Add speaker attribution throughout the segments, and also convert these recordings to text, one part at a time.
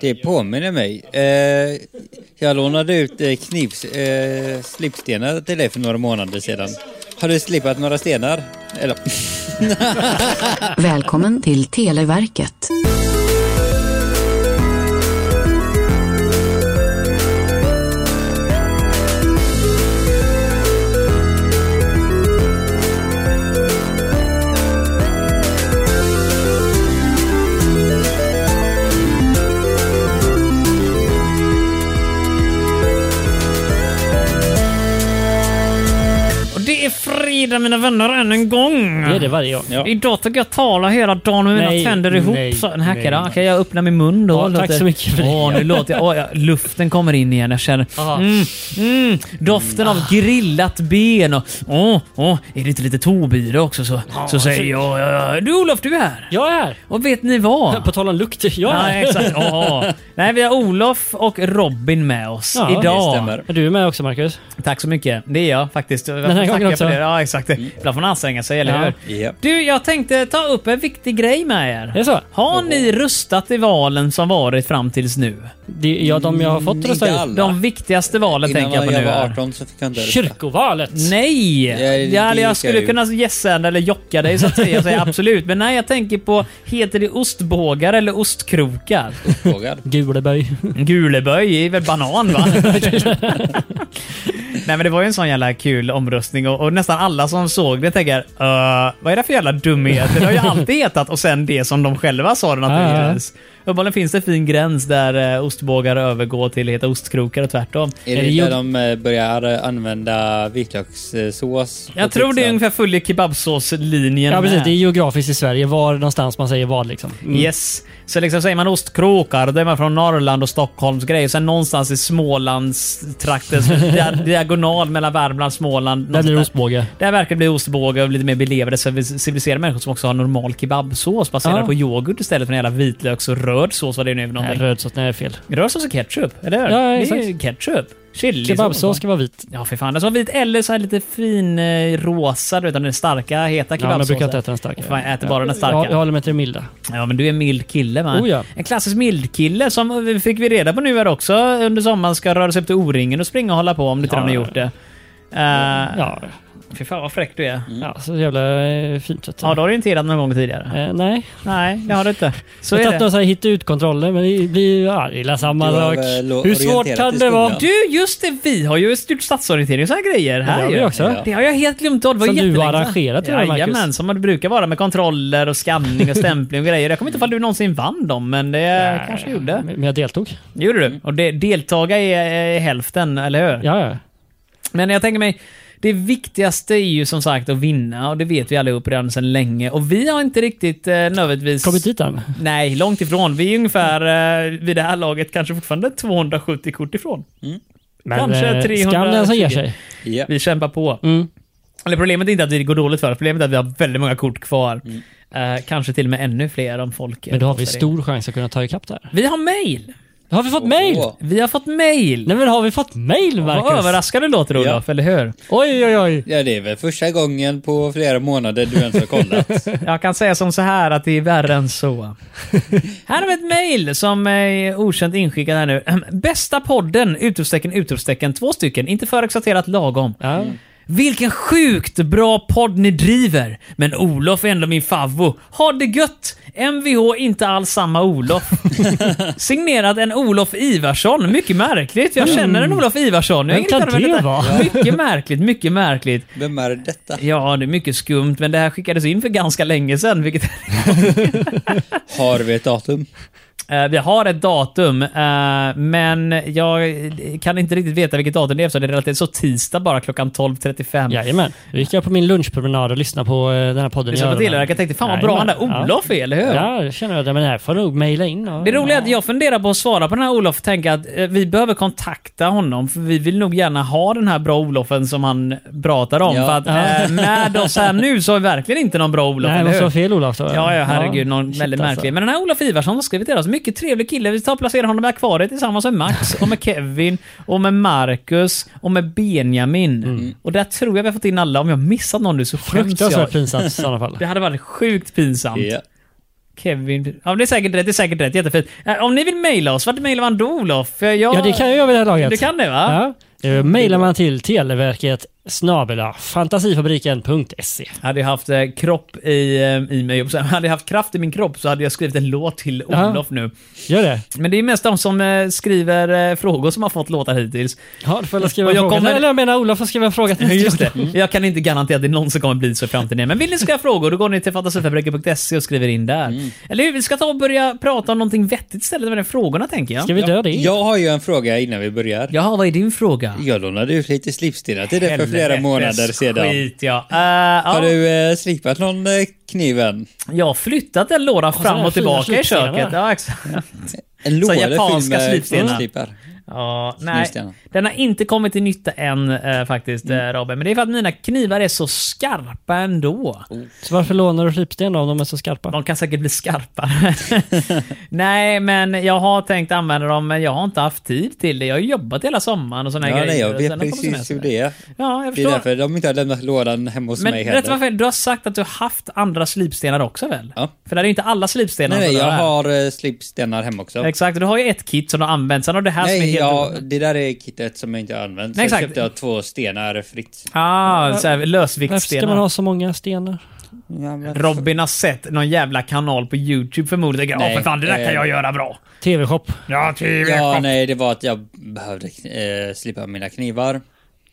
Speaker 1: Det påminner mig. Eh, jag lånade ut eh, knivs, eh, slipstenar till dig för några månader sedan. Har du slipat några stenar? Eller?
Speaker 2: Välkommen till Televerket.
Speaker 3: Och det är fredag mina vänner än en gång.
Speaker 4: Det är det varje gång.
Speaker 1: Ja.
Speaker 3: Idag tänker jag tala hela dagen med mina
Speaker 4: Nej,
Speaker 3: tänder ihop.
Speaker 4: nej,
Speaker 3: så, nej,
Speaker 4: nej.
Speaker 3: nej, Okej, jag öppnar min mun då.
Speaker 4: Ja, tack så mycket för det.
Speaker 3: Åh, nu låter jag, åh, jag, luften kommer in igen. Jag känner
Speaker 4: Aha.
Speaker 3: mm, mm, doften av grillat ben och åh, åh, är det inte lite Tobi också så, så säger jag ja, ja, du Olof, du är här.
Speaker 4: Jag är här!
Speaker 3: Och vet ni vad?
Speaker 4: På tal om lukt, jag är
Speaker 3: Ja,
Speaker 4: här.
Speaker 3: exakt. Åh. Nej, vi har Olof och Robin med oss
Speaker 4: Ja, det
Speaker 3: idag.
Speaker 1: stämmer.
Speaker 4: Är Du är med också Marcus.
Speaker 3: Tack så mycket. Det är jag faktiskt. Den
Speaker 4: här gången också.
Speaker 3: Ja, exakt. Ibland får man anstränga sig, eller
Speaker 4: Ja.
Speaker 3: hur?
Speaker 1: Mm. Ja.
Speaker 3: Du, jag tänkte ta upp en viktig grej med er.
Speaker 4: Är det så?
Speaker 3: Har ni röstat i valen som varit fram tills nu?
Speaker 4: Det, ja, de jag har fått
Speaker 1: Inte
Speaker 4: rösta i.
Speaker 1: alla.
Speaker 3: De viktigaste valen
Speaker 1: Innan
Speaker 3: tänker jag på
Speaker 1: jag
Speaker 3: nu.
Speaker 1: var
Speaker 3: här.
Speaker 1: 18 så fick jag inte rösta.
Speaker 4: Kyrkovalet!
Speaker 3: Nej!
Speaker 1: Ja, det
Speaker 3: Ja, eller jag
Speaker 1: gick
Speaker 3: skulle
Speaker 1: ju.
Speaker 3: kunna gissa eller jocka dig så att säga, säga absolut. Men nej, jag tänker på, heter det ostbågar eller ostkrokar?
Speaker 1: Frågad.
Speaker 4: Guleböj.
Speaker 3: Guleböj är väl banan va? Nej men det var ju en sån jävla kul omröstning och, och nästan alla som såg det tänker uh, vad är det för jävla dumheter? Det har ju alltid hetat och sen det som de själva sa den att det
Speaker 4: Ja,
Speaker 3: är
Speaker 4: ja.
Speaker 3: gräns. Uppenbarligen finns det en fin gräns där uh, ostbågar övergår till att heta ostkrokar och tvärtom.
Speaker 1: Är
Speaker 4: det
Speaker 1: det
Speaker 4: gjort-
Speaker 1: där de eh, börjar eh, använda vitlökssås? på
Speaker 3: Jag tror det är
Speaker 1: pizzan?
Speaker 3: ungefär följer kebabsåslinjen
Speaker 4: Ja precis,
Speaker 3: med.
Speaker 4: det är geografiskt i Sverige. Var någonstans man säger vad liksom. Mm.
Speaker 3: Yes. Så liksom säger man ostkrokar, då är man från Norrland och Stockholms grejer. Sen någonstans i Smålandstrakten, så dia- diagonal mellan Värmland och Småland.
Speaker 4: Där blir det
Speaker 3: någonstans.
Speaker 4: ostbåge.
Speaker 3: Där verkar det bli ostbåge och lite mer belevade civil- civiliserade människor som också har normal kebabsås baserad
Speaker 4: Ja.
Speaker 3: på yoghurt istället för en jävla vitlöks och röd sås vad det nu är för
Speaker 4: Nej,
Speaker 3: någonting.
Speaker 4: röd sås. Nej, det är fel.
Speaker 3: Rödsås och ketchup, eller hur? det
Speaker 4: Ja,
Speaker 3: är ju
Speaker 4: exakt.
Speaker 3: ketchup. Chili.
Speaker 4: Kebabsås ska vara vit.
Speaker 3: Ja, för fan. Den som var vit eller så här lite fin eh, rosa, du vet den starka, heta
Speaker 4: Ja, men jag
Speaker 3: kebabsåsen.
Speaker 4: brukar inte äta den starka.
Speaker 3: Fan, jag äter bara den starka.
Speaker 4: Jag, jag håller mig till det milda.
Speaker 3: Ja, men du är en mild kille va?
Speaker 4: Oh, ja.
Speaker 3: En klassisk mild kille som eh, fick vi reda på nu här också under sommaren ska röra sig upp till O-ringen och springa och hålla på om du inte
Speaker 4: Ja,
Speaker 3: redan har
Speaker 4: ja,
Speaker 3: gjort det. Uh,
Speaker 4: Ja,
Speaker 3: Fy fan vad fräck du är.
Speaker 4: ja så jävla eh, fint. vet du.
Speaker 3: Har du orienterat någon gång tidigare?
Speaker 4: Eh, nej,
Speaker 3: Nej, det har du inte. Så
Speaker 4: jag har
Speaker 3: är
Speaker 4: tagit några
Speaker 3: det.
Speaker 4: så här hit-ut-kontroller men det blir ja, det är samma
Speaker 1: Du har
Speaker 4: sak.
Speaker 1: väl lo-
Speaker 4: Hur svårt
Speaker 1: orienterat
Speaker 4: kan
Speaker 1: i
Speaker 4: det vara?
Speaker 1: skolan?
Speaker 3: Du, just det. Vi har ju gjort statsorientering och sådana grejer här
Speaker 4: Det har
Speaker 3: ju.
Speaker 4: vi också.
Speaker 3: Det har jag helt glömt av. Det var
Speaker 4: Som du
Speaker 3: jättelänge
Speaker 4: har
Speaker 3: sedan.
Speaker 4: arrangerat, tror jag, Marcus.
Speaker 3: Jajamän, som det brukar vara med kontroller och skanning och stämpling och grejer. Jag kommer inte ifall du någonsin vann dem, men det
Speaker 4: Nej,
Speaker 3: Eh, kanske gjorde.
Speaker 4: Men jag deltog.
Speaker 3: Det gjorde du. Och det, deltaga är eh, hälften, eller hur?
Speaker 4: Ja, ja.
Speaker 3: Men jag tänker mig, det viktigaste är ju som sagt att vinna och det vet vi allihop redan sedan länge. Och vi har inte riktigt eh, nödvändigtvis...
Speaker 4: Kommit dit än.
Speaker 3: Nej, långt ifrån. Vi är ungefär eh, vid det här laget kanske fortfarande 270 kort ifrån.
Speaker 4: Men
Speaker 3: Kanske
Speaker 4: eh,
Speaker 3: 320.
Speaker 4: skam den som ger sig.
Speaker 1: Ja.
Speaker 3: Vi kämpar på.
Speaker 4: Mm.
Speaker 3: Eller problemet är inte att det går dåligt för oss, problemet är att vi har väldigt många kort kvar. Eh, kanske till och med ännu fler om folk... eh,
Speaker 4: Men då har vi
Speaker 3: postar in.
Speaker 4: stor chans att kunna ta ikapp det här.
Speaker 3: Vi har mail!
Speaker 4: Har vi fått
Speaker 1: Åh.
Speaker 4: mail?
Speaker 3: Vi har fått mail!
Speaker 4: Nej men har vi fått mail Marcus?
Speaker 3: Vad överraskande det låter Olof, eller hur?
Speaker 4: Oj oj oj.
Speaker 1: Ja, det är väl första gången på flera månader du ens har kollat.
Speaker 3: Jag kan säga som så här att det är värre än så. Här har vi ett mejl som är okänt inskickat här nu. Bästa podden! Utropstecken, utropstecken. Två stycken. Inte för exalterat, lagom.
Speaker 4: Ja.
Speaker 3: Vilken sjukt bra podd ni driver! Men Olof är ändå min favvo. Ha det gött! Mvh inte alls samma Olof. Signerat en Olof Ivarsson. Mycket märkligt. Jag känner en Olof Ivarsson. Jag
Speaker 4: Mm. Vem kan
Speaker 3: hänger inte med
Speaker 4: det
Speaker 3: detta.
Speaker 4: vara?
Speaker 3: Mycket märkligt, mycket märkligt.
Speaker 1: Vem är detta?
Speaker 3: Ja, det är mycket skumt, men det här skickades in för ganska länge sedan, vilket
Speaker 1: Har vi ett datum?
Speaker 3: Eh, vi har ett datum, eh, men jag kan inte riktigt veta vilket datum det är eftersom det är relativt så tisdag bara klockan 12.35.
Speaker 4: Jajamän. Då gick jag på min lunchpromenad och lyssnade på eh, den här podden.
Speaker 3: Du satt
Speaker 4: i
Speaker 3: på
Speaker 4: öronen.
Speaker 3: televerket och tänkte fan vad bra han där
Speaker 4: Jajamän.
Speaker 3: Olof är, eller hur?
Speaker 4: Ja, ja det känner jag. Men det här får jag nog mejla in. Och,
Speaker 3: Det roliga är att jag funderar på att svara på den här Olof och tänker att eh, vi behöver kontakta honom för vi vill nog gärna ha den här bra Olofen som han pratar om.
Speaker 1: Ja.
Speaker 3: För att eh, med oss här nu så har vi verkligen inte någon bra Olof,
Speaker 4: Nej,
Speaker 3: eller
Speaker 4: måste
Speaker 3: hur?
Speaker 4: vara fel Olof. då.
Speaker 3: Ja, ja, herregud. Någon
Speaker 4: Shit,
Speaker 3: väldigt märklig.
Speaker 4: Alltså.
Speaker 3: Men den här Olof Ivarsson har skrivit till oss. Mycket trevlig kille. Vi tar och placerar honom i akvariet tillsammans med Max, och med Kevin, och med Marcus och med Benjamin. Och där tror jag vi har fått in alla. Om jag missat någon nu så skäms jag.
Speaker 4: Fruktansvärt pinsamt i sådana fall.
Speaker 3: Det hade varit sjukt pinsamt.
Speaker 1: Ja.
Speaker 3: Kevin... Ja, det är säkert rätt. Det är säkert rätt. Jättefint. Eh, Om ni vill mejla oss, vart mejlar man då Olof? För jag...
Speaker 4: Ja, det kan jag göra vid det här laget.
Speaker 3: Du kan det va?
Speaker 4: Ja. Eh, Mejlar man till Televerket snabela fantasifabriken.se.
Speaker 3: Hade jag haft eh, kropp i, eh, i mig, så hade jag haft kraft i min kropp så hade jag skrivit en låt till
Speaker 4: Ja.
Speaker 3: Olof nu.
Speaker 4: Gör det.
Speaker 3: Men det är mest de som eh, skriver eh, frågor som har fått låtar hittills.
Speaker 4: Ja, du får väl skriva
Speaker 3: Och
Speaker 4: en
Speaker 3: jag
Speaker 4: fråga.
Speaker 3: kommer-
Speaker 4: Eller jag menar Olof får skriva en fråga till
Speaker 3: Just det.
Speaker 4: Mm.
Speaker 3: Jag kan inte garantera att det är någon som kommer bli så i framtiden igen. Men vill ni skriva frågor, då går ni till fantasifabriken.se och skriver in där.
Speaker 4: Mm.
Speaker 3: Eller hur? Vi ska ta och börja prata om någonting vettigt istället med de frågorna, tänker jag.
Speaker 4: Ska vi dö det?
Speaker 1: Jag har ju en fråga innan vi börjar.
Speaker 3: Jaha, vad är din fråga?
Speaker 1: Jag lånade ut lite slipstenar till dig för flera
Speaker 3: Helvetes
Speaker 1: månader sedan.
Speaker 3: Skit, ja. Eh, ja.
Speaker 1: Har du eh, slipat någon eh, kniv än?
Speaker 3: Jag har flyttat en låda
Speaker 4: sådana
Speaker 3: fram
Speaker 4: här
Speaker 3: och tillbaka
Speaker 4: fina
Speaker 3: i köket.
Speaker 4: slipstenar.
Speaker 3: Ja, exakt.
Speaker 1: En låda fylld
Speaker 3: japanska
Speaker 1: med
Speaker 3: slipstenar.
Speaker 1: slipstenar.
Speaker 3: Ja, nej.
Speaker 1: Snyggt,
Speaker 3: Den har inte kommit till nytta än eh, faktiskt, eh, Robin. Men det är för att mina knivar är så skarpa ändå.
Speaker 1: Oh.
Speaker 4: Så varför lånar du slipsten om de är så skarpa?
Speaker 3: De kan säkert bli skarpare. nej, men jag har tänkt använda dem, men jag har inte haft tid till det. Jag har ju jobbat hela sommaren och såna här
Speaker 1: Ja, nej,
Speaker 3: grejer.
Speaker 1: jag
Speaker 3: och
Speaker 1: vet
Speaker 3: sen har jag kommit
Speaker 1: precis
Speaker 3: semester.
Speaker 1: hur det är.
Speaker 3: Ja, jag
Speaker 1: Det är
Speaker 3: förstår.
Speaker 1: därför de inte har lämnat lådan hemma hos mig
Speaker 3: Men
Speaker 1: heller.
Speaker 3: rätt varför du har sagt att du har haft andra slipstenar också väl?
Speaker 1: Ja.
Speaker 3: För det är ju inte alla slipstenar
Speaker 1: Nej, nej,
Speaker 3: som du
Speaker 1: jag
Speaker 3: här.
Speaker 1: har eh, slipstenar hemma också.
Speaker 3: Exakt, och du har ju ett kit som du har använt. Sen har du det här som är
Speaker 1: Nej,
Speaker 3: helt...
Speaker 1: ja, det där är kittet som jag inte har använt.
Speaker 3: Nej,
Speaker 1: Nej, så
Speaker 3: exakt.
Speaker 1: köpte jag två stenar fritt.
Speaker 3: Ah, så här,
Speaker 4: Varför
Speaker 3: lösviktsstenar.
Speaker 4: ska man ha så många stenar?
Speaker 1: Ja, men...
Speaker 3: Robin har sett någon jävla kanal på YouTube förmodligen. Ja,
Speaker 1: Nej,
Speaker 3: för fan det där
Speaker 1: eh,
Speaker 3: kan jag göra bra.
Speaker 4: TV-shop.
Speaker 3: Ja,
Speaker 1: Ja, nej, det var att jag behövde eh, slipa mina knivar.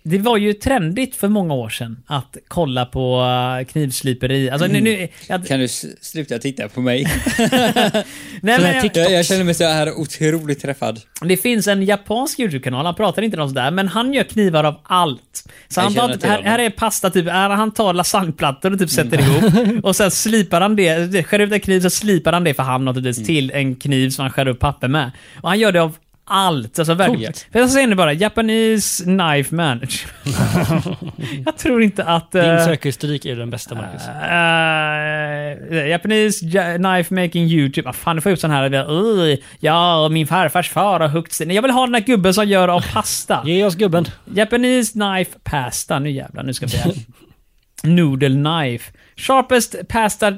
Speaker 3: Det var ju trendigt för många år sedan att kolla på eh, knivsliperi. Alltså, nu, nu, jag,
Speaker 1: Kan du s- sluta titta på mig?
Speaker 3: nej, men,
Speaker 4: här
Speaker 3: jag,
Speaker 1: jag, jag känner mig så här otroligt träffad.
Speaker 3: det finns en japansk YouTube-kanal, han pratar inte om sådär, men han gör knivar av allt. Så
Speaker 1: Jag
Speaker 3: han
Speaker 1: känner
Speaker 3: tar,
Speaker 1: till
Speaker 3: här,
Speaker 1: honom.
Speaker 3: här är pasta, typ, här, han tar lasagneplattor och typ sätter
Speaker 1: Mm.
Speaker 3: ihop. Och sen slipar han det, skär ut en kniv, så slipar han det för hand naturligtvis
Speaker 1: Mm.
Speaker 3: till en kniv som han skär upp papper med. Och han gör det av allt. Alltså verkligen.
Speaker 1: Coolt.
Speaker 3: För jag säger nu bara, Japanese Knife Manager. jag tror inte att... eh,
Speaker 4: Din sökhistorik är den bästa Marcus.
Speaker 3: Uh, Japanese ja- knife making YouTube. Ah, fan, du får upp sån här. Uh, ja, och min farfars far har huggt sig. Nej, Jag vill ha den här gubben som gör av pasta.
Speaker 4: Ge oss gubben.
Speaker 3: Japanese knife pasta. Nu jävlar, nu ska vi här. Noodle knife. Sharpest pasta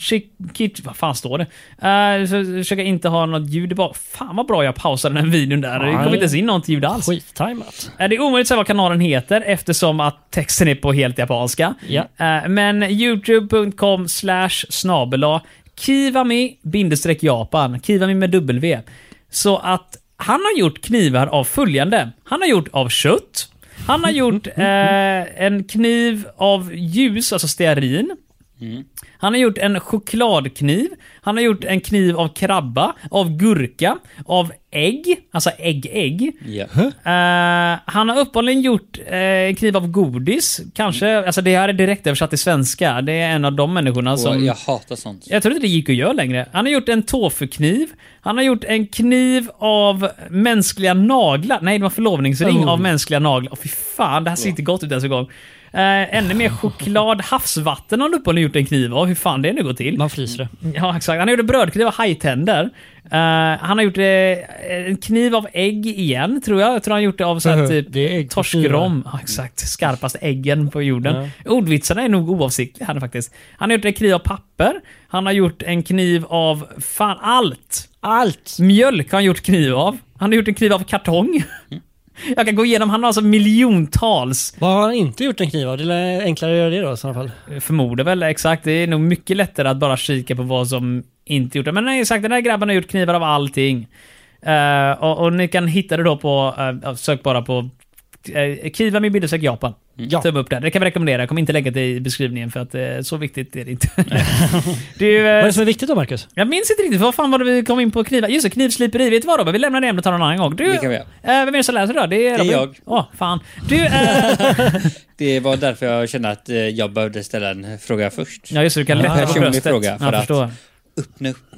Speaker 3: chick- kit... Vad fan står det? Uh, så försöker jag inte ha något ljud i bak. Fan vad bra jag pausade den videon där. Det kom
Speaker 4: Nej.
Speaker 3: inte ens in något ljud alls.
Speaker 4: Skittajmat.
Speaker 3: Eh, Det är omöjligt att säga vad kanalen heter eftersom att texten är på helt japanska.
Speaker 4: Ja.
Speaker 3: Eh, Men youtube.com slash snabela kivami bindestreck japan, kivami med W. Så att han har gjort knivar av följande. Han har gjort av kött, han har gjort eh, en kniv av ljus, alltså stearin. Han har gjort en chokladkniv, han har gjort en kniv av krabba, av gurka, av ägg, alltså ägg-ägg.
Speaker 1: Ja.
Speaker 3: Eh, han har uppenbarligen gjort eh, en kniv av godis. Kanske, alltså det här är direkt översatt till svenska. Det är en av de människorna
Speaker 1: Och
Speaker 3: som...
Speaker 1: jag hatar sånt.
Speaker 3: Jag tror inte det gick att göra längre. Han har gjort en tofukniv. Han har gjort en kniv av mänskliga naglar. Nej, det var förlovningsring
Speaker 4: Oh.
Speaker 3: av mänskliga naglar. Åh fy fan, det här ser inte gott ut ens en gång. Eh, ännu mer choklad, havsvatten har han uppenbarligen gjort en kniv av. Hur fan det nu går till.
Speaker 4: Man fryser det.
Speaker 3: Ja, exakt. Han gjorde brödkniv av hajtänder. Eh, han har gjort eh, en kniv av ägg igen, tror jag. Jag tror han gjort det av så här,
Speaker 4: Mhm.
Speaker 3: typ
Speaker 4: Det är ägg på
Speaker 3: torskrom. Ja, exakt. Skarpaste äggen på jorden. Ordvitsarna är nog oavsiktliga här faktiskt. Han har gjort en kniv av papper. Han har gjort en kniv av fan allt.
Speaker 4: Allt!
Speaker 3: Mjölk har han gjort kniv av. Han har gjort en kniv av kartong.
Speaker 4: Mm.
Speaker 3: Jag kan gå igenom, han har alltså miljontals
Speaker 4: Vad har han inte gjort en kniv av? Det är enklare att göra det då i sådana fall.
Speaker 3: eh, Förmodar väl, exakt. Det är nog mycket lättare att bara kika på vad som inte gjort det. Men nej, exakt, den här grabben har gjort knivar av allting. Eh, och, och ni kan hitta det då på, eh, sök bara på uh, Kiva med bildesök Japan.
Speaker 4: Ja.
Speaker 3: Tum upp där. Det kan vi rekommendera. Jag kommer inte lägga det i beskrivningen för att eh, så viktigt är det inte. det är ju, eh,
Speaker 4: Vad är det som är viktigt då Marcus?
Speaker 3: jag minns inte riktigt, vad fan var det vi kom in på knivar? Just det, knivsliperi. Vet du vad Robin? Vi lämnar det ämnet och tar det en annan gång. Du,
Speaker 1: Det kan vi göra.
Speaker 3: eh, vem är det som läser då? Det är, Robin.
Speaker 1: jag.
Speaker 3: Åh, fan. Du, eh,
Speaker 1: Det var därför jag kände att eh, jag behövde ställa en fråga först.
Speaker 3: ja just det, du kan lätta på
Speaker 1: personlig
Speaker 3: bröstet.
Speaker 1: fråga, för
Speaker 3: jag
Speaker 1: att-
Speaker 3: förstår.
Speaker 1: Öppna upp.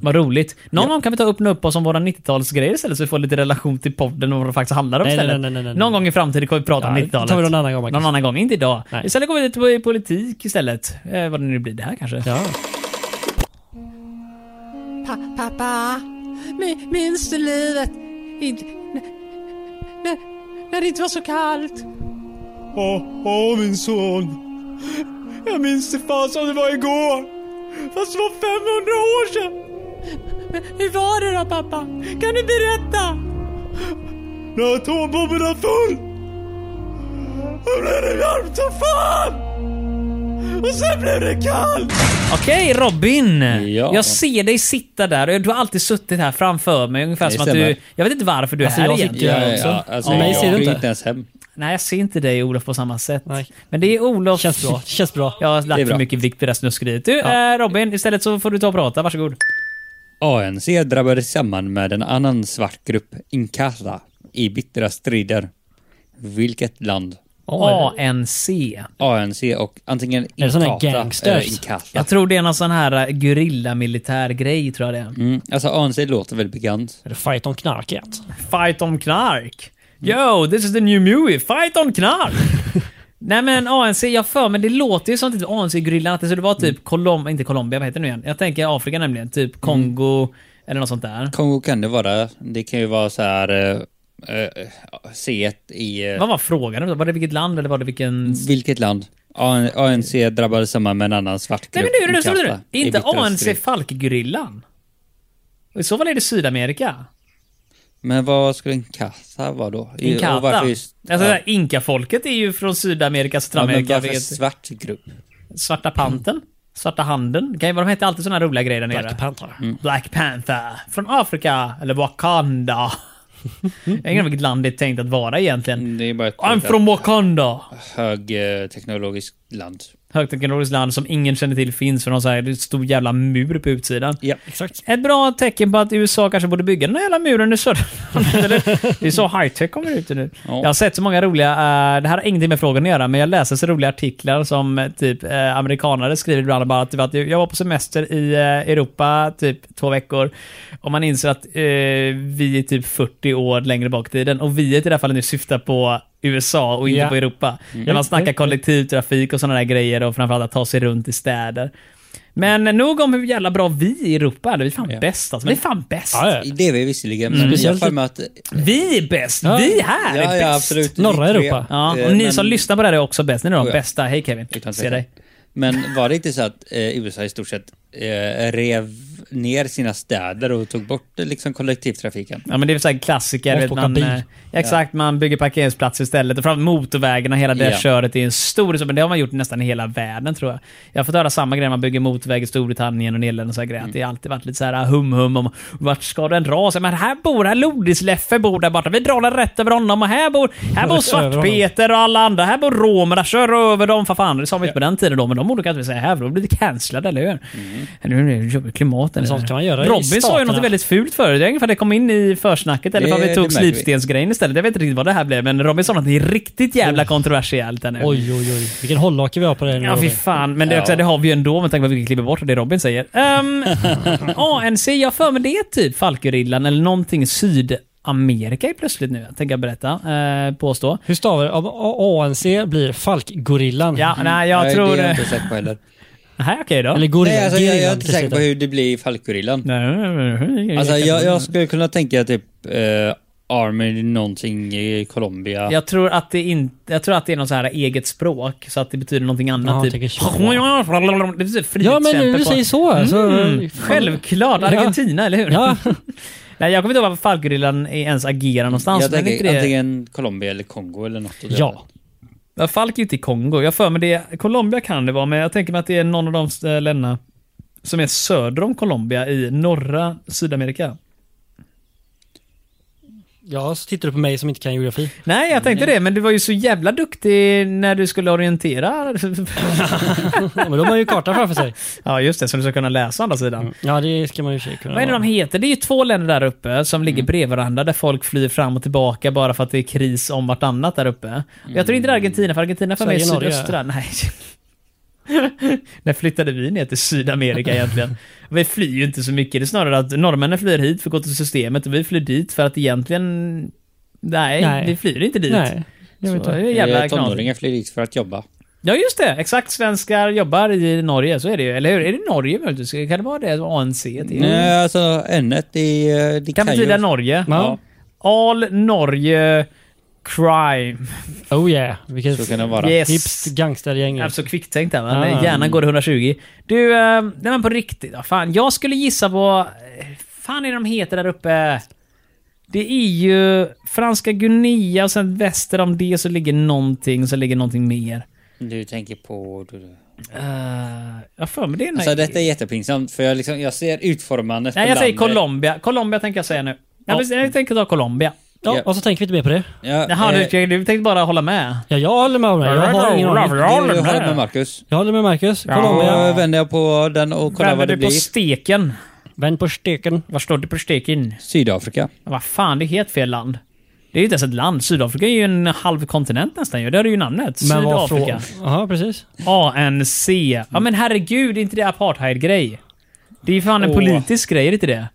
Speaker 3: Vad roligt. Någon gång kan vi ta upp nu upp oss om våra 90-talsgrejer istället så vi får lite relation till podden och vad det faktiskt handlar om
Speaker 4: Nej,
Speaker 3: istället.
Speaker 4: nej, nej, nej, nej.
Speaker 3: Någon gång i framtiden kommer vi prata om
Speaker 4: Ja,
Speaker 3: 90-talet.
Speaker 4: tar vi någon annan gång, Marcus.
Speaker 3: Någon annan gång, inte idag.
Speaker 4: Nej.
Speaker 3: Istället går vi lite på politik istället. Eh, vad det nu blir det här kanske.
Speaker 4: Ja.
Speaker 5: Pa, pappa, mi- minns du livet? Inte, när, när det inte var så kallt?
Speaker 6: Åh, åh min son. Jag minns det fan som det var igår.
Speaker 5: Fast det var 500 år sedan! Men hur var det då pappa? Kan du berätta? När atombomberna föll! Då blev det varmt som fan! Och sen blev det kallt!
Speaker 3: Okej Robin!
Speaker 1: Ja.
Speaker 3: Jag ser dig sitta där. Du har alltid suttit här framför mig. Ungefär
Speaker 1: Det
Speaker 3: som att du...
Speaker 1: stämmer.
Speaker 3: Jag vet inte varför du är
Speaker 4: Alltså,
Speaker 3: här
Speaker 4: jag
Speaker 3: egentligen.
Speaker 4: sitter- jag också.
Speaker 1: alltså,
Speaker 4: Ja, mig
Speaker 1: jag
Speaker 4: ser du
Speaker 1: går ju
Speaker 4: inte.
Speaker 1: inte ens hem.
Speaker 3: Nej, jag ser inte dig Olof på samma sätt.
Speaker 4: Nej.
Speaker 3: Men det är Olof...
Speaker 4: Känns bra. Känns bra.
Speaker 3: Jag har
Speaker 1: Det är
Speaker 3: lagt för
Speaker 1: bra.
Speaker 3: mycket vikt vid det här snuskeriet. Du eh, Robin, istället så får du ta och prata. Varsågod.
Speaker 1: ANC drabbades samman med en annan svart grupp, Inkatha, i bittra strider. Vilket land?
Speaker 3: ANC.
Speaker 1: ANC och antingen
Speaker 4: det såna här
Speaker 1: Inkatha eller
Speaker 4: gangsters?
Speaker 1: Inkatha.
Speaker 3: Jag tror det är någon sån här eh, gerillamilitär grej tror jag det är.
Speaker 1: Mm, alltså ANC låter väldigt bekant.
Speaker 4: Är det Fight om knarket.
Speaker 3: Fight on knark. Yo, this is the new movie. Fight on knark. Nej men ANC, jag för men det låter ju som typ ANC-grillan, så det var
Speaker 1: Mm.
Speaker 3: typ Colom, inte Colombia, vad heter det nu igen? Jag tänker Afrika nämligen, typ Kongo eller något sånt där.
Speaker 1: Kongo kan det vara. Det kan ju vara så här... eh, eh, C1 i... eh,
Speaker 3: Vad var frågan? Var det vilket land eller var det
Speaker 1: Mm.
Speaker 3: vilken...
Speaker 1: Vilket land? A- ANC drabbades samman med en annan svart
Speaker 3: Nej
Speaker 1: grupp.
Speaker 3: men nu, nu, nu, nu,
Speaker 1: Inkatha,
Speaker 3: nu.
Speaker 1: i
Speaker 3: Inte
Speaker 1: bittra
Speaker 3: ANC
Speaker 1: strid.
Speaker 3: Falkgrillan. I så fall är det Sydamerika.
Speaker 1: Men vad skulle Inkatha vara då? I- och
Speaker 3: Inkatha.
Speaker 1: varför
Speaker 3: Alltså
Speaker 1: just-
Speaker 3: det
Speaker 1: ja.
Speaker 3: här Inka-folket är ju från Sydamerika,
Speaker 1: Ja, men
Speaker 3: Sydamerika.
Speaker 1: varför
Speaker 3: vilket-
Speaker 1: svart grupp?
Speaker 3: Svarta Panten. Svarta Handen. Det kan ju vara, de heter alltid såna här roliga grejer där nere.
Speaker 4: Black Panther.
Speaker 3: Black Panther. Från Afrika. Eller Wakanda. Jag har ingen aning om vilket land det är tänkt att vara egentligen.
Speaker 1: Mm, Det är bara ett
Speaker 3: I'm from Wakanda.
Speaker 1: högteknologiskt land.
Speaker 3: Högteknologiskt land som ingen känner till finns för någon så här det är en stor jävla mur på utsidan.
Speaker 1: Ja.
Speaker 4: Exakt.
Speaker 3: Ett bra tecken på att USA kanske borde bygga den här jävla muren i södra Eller, Det är så high-tech kommer ut nu.
Speaker 1: Ja.
Speaker 3: Jag har sett så många roliga, eh, det här har ingenting med frågan att göra, men jag läser så roliga artiklar som eh, typ eh, amerikanare skriver ibland bara att, typ, att jag var på semester i eh, Europa typ två veckor och man inser att eh, vi är typ 40 år längre bak i tiden och vi i det här fallet nu syftar på USA och inte
Speaker 4: Ja.
Speaker 3: på Europa.
Speaker 1: Mm.
Speaker 3: När man snackar kollektivtrafik och sådana där grejer och framförallt att ta sig runt i städer. Men nog om hur jävla bra vi i Europa är. Vi är fan
Speaker 1: Ja.
Speaker 3: bäst alltså. Vi är fan bäst.
Speaker 4: Ja, ja.
Speaker 1: Det är vi visserligen, men
Speaker 3: Mm.
Speaker 1: jag har för mig att...
Speaker 3: Vi är bäst!
Speaker 4: Ja.
Speaker 3: Vi här
Speaker 1: Ja,
Speaker 3: är
Speaker 1: ja,
Speaker 3: bäst!
Speaker 1: absolut.
Speaker 4: Norra
Speaker 1: Vi tre.
Speaker 4: Europa.
Speaker 3: Ja,
Speaker 1: Eh,
Speaker 3: och ni
Speaker 1: men-
Speaker 3: som lyssnar på det här är också bäst. Ni är de
Speaker 1: Oh, ja.
Speaker 3: bästa. Hej Kevin.
Speaker 1: Utan
Speaker 3: Se
Speaker 1: tvekan.
Speaker 3: dig.
Speaker 1: Men var det inte så att eh, USA i stort sett eh, rev ner sina städer och tog bort eh, liksom, kollektivtrafiken?
Speaker 3: Ja men det är så här klassiker.
Speaker 4: Och
Speaker 3: Vet,
Speaker 4: åka
Speaker 3: man,
Speaker 4: bil.
Speaker 3: eh, exakt, man bygger parkeringsplatser istället. Och fram motorvägarna, hela det
Speaker 1: Ja.
Speaker 3: köret är en stor... Men det har man gjort nästan i hela världen tror jag. Jag har fått höra samma grej när man bygger motorväg i Storbritannien och Nederländerna och så här
Speaker 4: Mm.
Speaker 3: grejer. Att det har alltid varit lite så här ah, hum-hum om vart ska den dra sig? Men här bor, här Lodis-Leffe bor där borta. Vi drar den rätt över honom och här bor, här bor
Speaker 4: Rätt över honom.
Speaker 3: Svartpeter och alla andra. Här bor romerna. Kör över dem för fan. Det sa vi inte på den tiden då, men de borde kanske säga här för då blir det cancellade, eller hur? Nu är det jobbigt klimat. eller?
Speaker 4: Mm. sånt kan man göra i
Speaker 3: Robin sa ju
Speaker 4: staterna.
Speaker 3: något väldigt fult förut. Jag vet inte om det kom in i försnacket eller
Speaker 1: Det-
Speaker 3: om vi
Speaker 1: det
Speaker 3: tog
Speaker 1: märker
Speaker 3: slipstensgrejen istället. Jag vet inte riktigt vad det här blev, men Robin sa något riktigt jävla kontroversiellt där nu.
Speaker 4: Oj, oj, oj. Vilken hållhake vi har på det nu.
Speaker 3: Ja, fy
Speaker 4: Robin.
Speaker 3: fan. Men det, är också,
Speaker 1: Ja.
Speaker 3: det har vi ju ändå med tanke på att vi klipper bort det Robin säger. Um, ANC, jag har för mig det är typ Falkerillan eller någonting Sydamerika är plötsligt nu, tänker jag berätta. Uh, påstå.
Speaker 4: Hur stavar det? A- A- ANC blir Falkgorillan.
Speaker 3: Ja, nej, jag
Speaker 1: Mm. Nej,
Speaker 3: tror...
Speaker 1: Det är jag
Speaker 3: Nej,
Speaker 1: inte säker på heller.
Speaker 3: okej då.
Speaker 4: Eller gorilla.
Speaker 1: Nej, alltså, jag, jag är
Speaker 4: gorillan
Speaker 1: inte säker på hur det blir i Falkgorillan.
Speaker 3: Nej,
Speaker 1: Alltså, jag, jag skulle kunna tänka typ eh, Army någonting i Colombia.
Speaker 3: Jag tror att det inte, jag tror att det är något så här eget språk, så att det betyder någonting
Speaker 4: Ja,
Speaker 3: annat. typ.
Speaker 4: tänker
Speaker 3: Det
Speaker 4: så.
Speaker 3: betyder
Speaker 4: Ja,
Speaker 3: frihetskämpe
Speaker 4: men nu du
Speaker 3: på-
Speaker 4: säger så. så
Speaker 3: Mm, Självklart, Argentina, eller hur?
Speaker 4: Ja.
Speaker 3: Nej, jag kommer inte ihåg varför Falkgrillan ens agerar någonstans.
Speaker 1: jag
Speaker 3: men
Speaker 1: tänker
Speaker 3: inte det-
Speaker 1: antingen Colombia eller Kongo eller något. åt det
Speaker 4: ja.
Speaker 1: hållet.
Speaker 3: Ja, Falk är ju inte i Kongo. Jag har för mig det. Colombia kan det vara, men jag tänker mig att det är någon av de eh, länderna som är söder om Colombia i norra Sydamerika.
Speaker 4: ja, så tittar du på mig som inte kan geografi.
Speaker 3: Nej, jag tänkte det, men du var ju så jävla duktig när du skulle orientera.
Speaker 4: Ja, men då har man ju kartan framför sig.
Speaker 3: ja, just det, så du ska kunna läsa å andra sidan.
Speaker 4: Ja, Mm. det ska man ju i och för sig kunna.
Speaker 3: Vad är det de heter? Det är ju två länder där uppe som ligger bredvid varandra där folk flyr fram och tillbaka bara för att det är kris om vartannat där uppe. Och Jag tror inte det är Argentina, för Argentina för mig är
Speaker 4: Mm. Sverige, Norge.
Speaker 3: sydöstra. Nej. När flyttade vi ner till Sydamerika egentligen? Vi flyr ju inte så mycket. Det är snarare att norrmännen flyr hit för att gå till systemet och vi flyr dit för att egentligen... Nej,
Speaker 4: Nej.
Speaker 3: vi flyr inte dit.
Speaker 4: Nej.
Speaker 3: jag vet inte. Det är
Speaker 1: Eh,
Speaker 3: jävla knasigt.
Speaker 1: Tonåringar flyr dit för att jobba.
Speaker 3: Ja, just det. Exakt. Svenskar jobbar i Norge, så är det ju. Eller hur? Är det Norge möjligtvis? Kan det vara det? ANC? till?
Speaker 1: Nej, alltså N1 i... eh, Det
Speaker 3: Kan
Speaker 1: ju-
Speaker 3: betyda Norge.
Speaker 1: Ja.
Speaker 3: Al, Norge, crime.
Speaker 4: Oh yeah. Vilket
Speaker 1: Så kan det vara.
Speaker 3: Yes.
Speaker 4: hipst gangstergäng.
Speaker 3: Jag är så kvicktänkt där va?
Speaker 4: Ah.
Speaker 3: Hjärnan går 120. Du, eh, nej men på riktigt. Ja, fan. Jag skulle gissa på... eh, fan är de heter där uppe? Det är ju Franska Guinea och sen väster om det så ligger någonting, så ligger någonting mer.
Speaker 1: Du tänker på... Du, du.
Speaker 3: Uh, jag för mig det är en-
Speaker 1: Alltså detta är jättepinsamt för jag, liksom, jag ser utformandet
Speaker 3: Nej,
Speaker 1: på
Speaker 3: jag säger
Speaker 1: landet.
Speaker 3: Colombia. Colombia tänker jag säga nu.
Speaker 4: Ja.
Speaker 3: Jag, vill- jag tänker ta Colombia.
Speaker 4: Ja, och så tänker vi inte mer på det.
Speaker 1: Ja,
Speaker 3: Jaha,
Speaker 1: eh,
Speaker 3: du, du tänkte bara hålla med.
Speaker 4: Ja, jag håller med om det. Jag har ingen aning.
Speaker 1: jag håller med Marcus.
Speaker 4: Jag håller med Marcus.
Speaker 3: Ja.
Speaker 1: Då
Speaker 4: Colombia.
Speaker 1: eh, vänder jag på den och kollar
Speaker 3: Kollar
Speaker 1: vad det
Speaker 3: du på
Speaker 1: blir.
Speaker 3: steken?
Speaker 4: Vänd på steken.
Speaker 3: Vad står det på steken?
Speaker 1: Sydafrika.
Speaker 3: Ja, Vad fan, det är helt fel land. Det är ju inte ens ett land. Sydafrika är ju en halv kontinent nästan ju. Det är ju namnet.
Speaker 4: Men vad
Speaker 3: Sydafrika.
Speaker 4: frå- Ja, precis.
Speaker 3: ANC. Ja men herregud, är inte det apartheid-grej? Det är ju fan en
Speaker 1: Åh.
Speaker 3: politisk grej, är det inte det?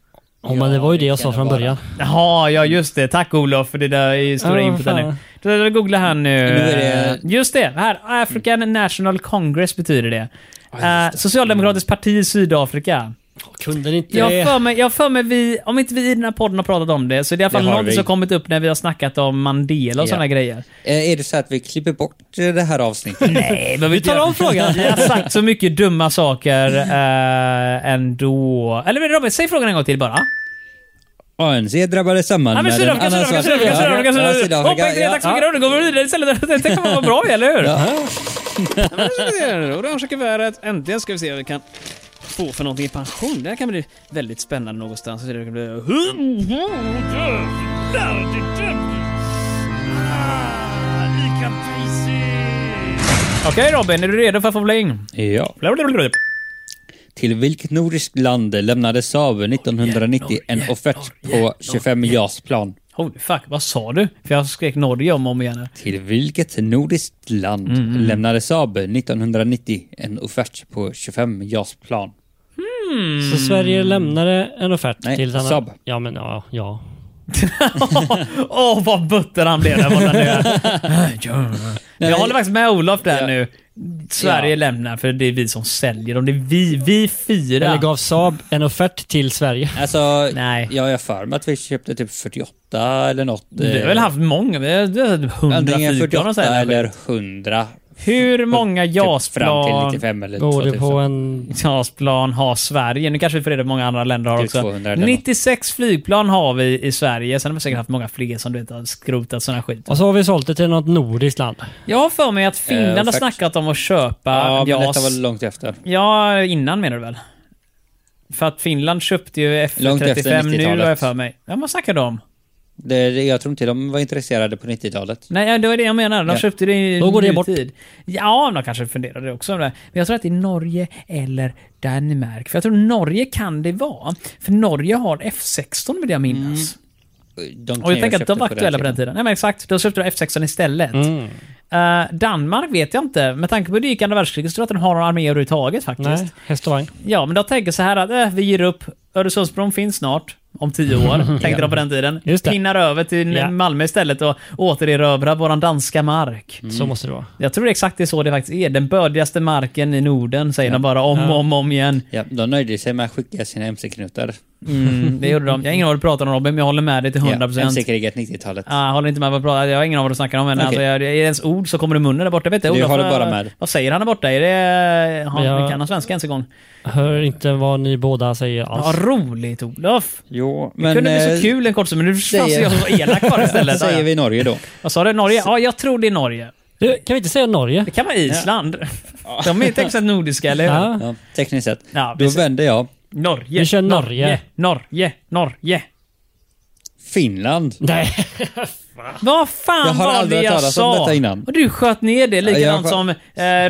Speaker 4: Ja, men det var ju det jag sa från början.
Speaker 3: Jaha, ja just det. Tack Olof för det där är ju stora
Speaker 4: Ja,
Speaker 3: inputen
Speaker 4: fan.
Speaker 3: nu. Då då googlar han nu.
Speaker 1: är det-
Speaker 3: Just det, här. African National Congress betyder det. Eh, Socialdemokratiskt parti i Sydafrika.
Speaker 4: Kunde ni inte
Speaker 3: Jag har för mig, jag har för mig vi, om inte vi i den här podden har pratat om det, så är det i alla fall
Speaker 1: Det har
Speaker 3: någonting
Speaker 1: vi.
Speaker 3: som kommit upp när vi har snackat om Mandela och
Speaker 1: Ja.
Speaker 3: sådana grejer.
Speaker 1: Eh, Är det så att vi klipper bort eh, det här avsnittet?
Speaker 3: Nej, men vi
Speaker 4: tar om frågan.
Speaker 3: Vi har sagt så mycket dumma saker eh, ändå. Eller Robin, säg frågan en gång till bara.
Speaker 1: ANC drabbades samman
Speaker 3: Ja, men
Speaker 1: med en
Speaker 3: Sydafrika,
Speaker 1: annan
Speaker 3: Sydafrika,
Speaker 1: svart-
Speaker 3: Sydafrika, Sydafrika,
Speaker 1: Ja,
Speaker 3: Sydafrika. Hoppa
Speaker 1: Sydafrika,
Speaker 3: inte ner,
Speaker 1: ja.
Speaker 3: tack så mycket. Nu går vi vidare istället. Tänk om vad bra eller hur? Orange kuvertet. Äntligen ska vi se vad vi kan få för någonting i pension. Det här kan bli väldigt spännande någonstans. Det kan bli... Okej Robin, är du redo för fubbling?
Speaker 1: Ja. Till vilket nordiskt land lämnade Saab 1990 en offert på 25 JAS-plan?
Speaker 3: Holy fuck, vad sa du? För jag skrek Norge om och om igen. här.
Speaker 1: Till vilket nordiskt land
Speaker 3: Mhm.
Speaker 1: lämnade Saab 1990 en offert på 25 JAS-plan?
Speaker 4: Så
Speaker 3: Mm.
Speaker 4: Sverige lämnade en offert
Speaker 1: Nej,
Speaker 4: till ett annat-
Speaker 1: Saab.
Speaker 4: Ja, men ja. ja.
Speaker 3: Åh, vad butter han blev där borta nu. Men jag håller faktiskt med Olof där
Speaker 1: Ja.
Speaker 3: nu. Sverige
Speaker 1: Ja.
Speaker 3: lämnar för det är vi som säljer dem. Det är vi, vi fyra.
Speaker 4: Eller gav Saab en offert till Sverige?
Speaker 1: Alltså,
Speaker 3: Nej.
Speaker 1: jag har för mig att vi köpte typ 48 eller något. eh,
Speaker 3: vi har väl haft många? Vi har- vi har hundra
Speaker 1: Antingen
Speaker 3: flygplan och
Speaker 1: 48
Speaker 3: sådär.
Speaker 1: eller 100.
Speaker 3: Hur många
Speaker 1: Fram till
Speaker 3: JAS-plan
Speaker 1: 95 eller
Speaker 4: Går det
Speaker 1: 2000.
Speaker 4: på en...
Speaker 3: JAS-plan har Sverige? Nu kanske vi får reda på hur många andra länder har
Speaker 1: Typ
Speaker 3: också.
Speaker 1: 200 eller något.
Speaker 3: 96 flygplan har vi i Sverige. Sen har vi säkert haft många fler som du vet har skrotat sådana skit.
Speaker 4: Och så har vi sålt det till något nordiskt land.
Speaker 3: Jag har för mig att Finland har
Speaker 1: offert.
Speaker 3: snackat om att köpa
Speaker 1: Eh, Ja, men
Speaker 3: JAS.
Speaker 1: detta var långt efter.
Speaker 3: Ja, innan menar du väl? För att Finland köpte ju
Speaker 1: Långt efter
Speaker 3: F35 nu har
Speaker 1: 90-talet.
Speaker 3: jag för mig. Ja, vad snackar de om?
Speaker 1: Det, det, jag tror inte de var intresserade på 90-talet.
Speaker 3: Nej, ja, det var det jag menar. De
Speaker 1: Ja.
Speaker 3: köpte det i
Speaker 4: Då går det bort.
Speaker 3: nutid. Ja, de kanske funderade också om det. Men jag tror att det är Norge eller Danmark. För jag tror Norge kan det vara. För Norge har F16 vill jag minnas.
Speaker 4: Mm.
Speaker 1: De kan
Speaker 3: Och jag
Speaker 1: ju
Speaker 3: tänker att
Speaker 1: köpte
Speaker 3: de var aktuella på den tiden. Nej men exakt, då köpte de F16 istället.
Speaker 4: Mm.
Speaker 3: Eh, Danmark vet jag inte. Med tanke på hur det gick i andra världskriget så tror jag att de har någon armé överhuvudtaget faktiskt.
Speaker 4: Nej, häst och vagn.
Speaker 3: Ja, men de tänker så här att eh, vi ger upp. Öresundsbron finns snart. Om tio år, tänkte de på den tiden.
Speaker 4: Just det.
Speaker 3: Pinnar över till
Speaker 4: Ja.
Speaker 3: Malmö istället och återerövrar våran danska mark.
Speaker 1: Mm.
Speaker 4: Så måste det vara.
Speaker 3: Jag tror exakt det är så det faktiskt är. Den bördigaste marken i Norden säger de bara om och om, om igen.
Speaker 1: Ja, de nöjde sig med att skicka sina mc-knutar.
Speaker 3: Mm, det gjorde de. Jag har ingen aning vad du pratar om Robin, men jag håller med dig till 100%.
Speaker 1: Ja, mc-kriget 90-talet.
Speaker 3: Ah, jag håller inte med vad du pratar Jag har ingen aning vad du snackar om. Men
Speaker 1: Okej.
Speaker 3: alltså, jag, är det ens ord så kommer det i munnen där borta. Jag Vet inte,
Speaker 1: Du
Speaker 3: Olof,
Speaker 1: håller
Speaker 3: eh,
Speaker 1: bara med.
Speaker 3: Vad säger han där borta? Är det... Han,
Speaker 4: Men jag-
Speaker 3: Kan han svenska ens en gång?
Speaker 4: Hör inte vad ni båda säger alls.
Speaker 3: Vad roligt Olof!
Speaker 1: Jo,
Speaker 3: Det
Speaker 1: men...
Speaker 3: kunde bli
Speaker 1: eh,
Speaker 3: så kul en kort stund, men nu fanns
Speaker 1: säger-
Speaker 3: jag så elak bara istället.
Speaker 1: säger vi Norge då.
Speaker 3: Vad sa du? Norge? Ja, jag tror det är Norge.
Speaker 4: Du, kan vi inte säga Norge?
Speaker 3: Det kan vara Island. De är inte exakt nordiska, eller hur?
Speaker 4: Ja.
Speaker 1: Ja, tekniskt sett.
Speaker 3: Ja,
Speaker 1: då
Speaker 3: precis.
Speaker 1: vänder jag.
Speaker 3: Norge.
Speaker 4: Vi kör
Speaker 3: Norge.
Speaker 4: Norge.
Speaker 3: Norge. Norge.
Speaker 1: Finland.
Speaker 4: Nej.
Speaker 3: Vad fan
Speaker 1: Jag har
Speaker 3: var
Speaker 1: aldrig
Speaker 3: det
Speaker 1: hört
Speaker 3: jag
Speaker 1: talas
Speaker 3: sa?
Speaker 1: om detta innan.
Speaker 3: Och du sköt ner det likadant
Speaker 1: jag
Speaker 3: som eh,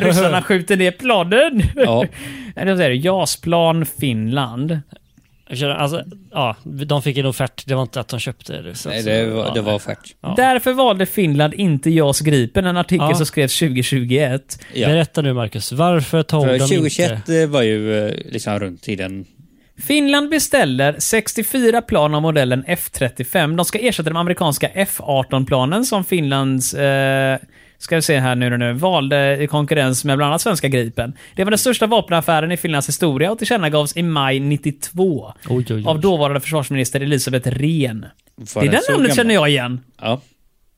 Speaker 3: ryssarna skjuter ner planen.
Speaker 1: Ja.
Speaker 3: Nej, det var så här, JAS-plan Finland.
Speaker 4: Jag kör- Alltså, ja, de fick en offert. Det var inte att de köpte det. Så,
Speaker 1: Nej, det var, det var offert.
Speaker 4: Ja.
Speaker 3: Därför valde Finland inte JAS Gripen, en artikel
Speaker 4: Ja.
Speaker 3: som skrevs 2021.
Speaker 1: Ja.
Speaker 4: Berätta nu Marcus, varför tog
Speaker 1: För
Speaker 4: de
Speaker 1: 2021
Speaker 4: inte...
Speaker 1: eh, var ju eh, liksom runt tiden.
Speaker 3: Finland beställer 64 plan av modellen F35. De ska ersätta de amerikanska F18-planen som Finlands eh, ska vi se här nu, nu, nu, valde i konkurrens med bland annat svenska Gripen. Det var den största vapenaffären i Finlands historia och tillkännagavs i maj 92
Speaker 4: Oj,
Speaker 1: Mm.
Speaker 4: oj, oj.
Speaker 3: av dåvarande försvarsminister Elisabeth Rehn.
Speaker 1: Var
Speaker 3: det
Speaker 1: den
Speaker 3: är den
Speaker 1: så
Speaker 3: namnet
Speaker 1: gammal?
Speaker 3: känner jag igen.
Speaker 1: Ja.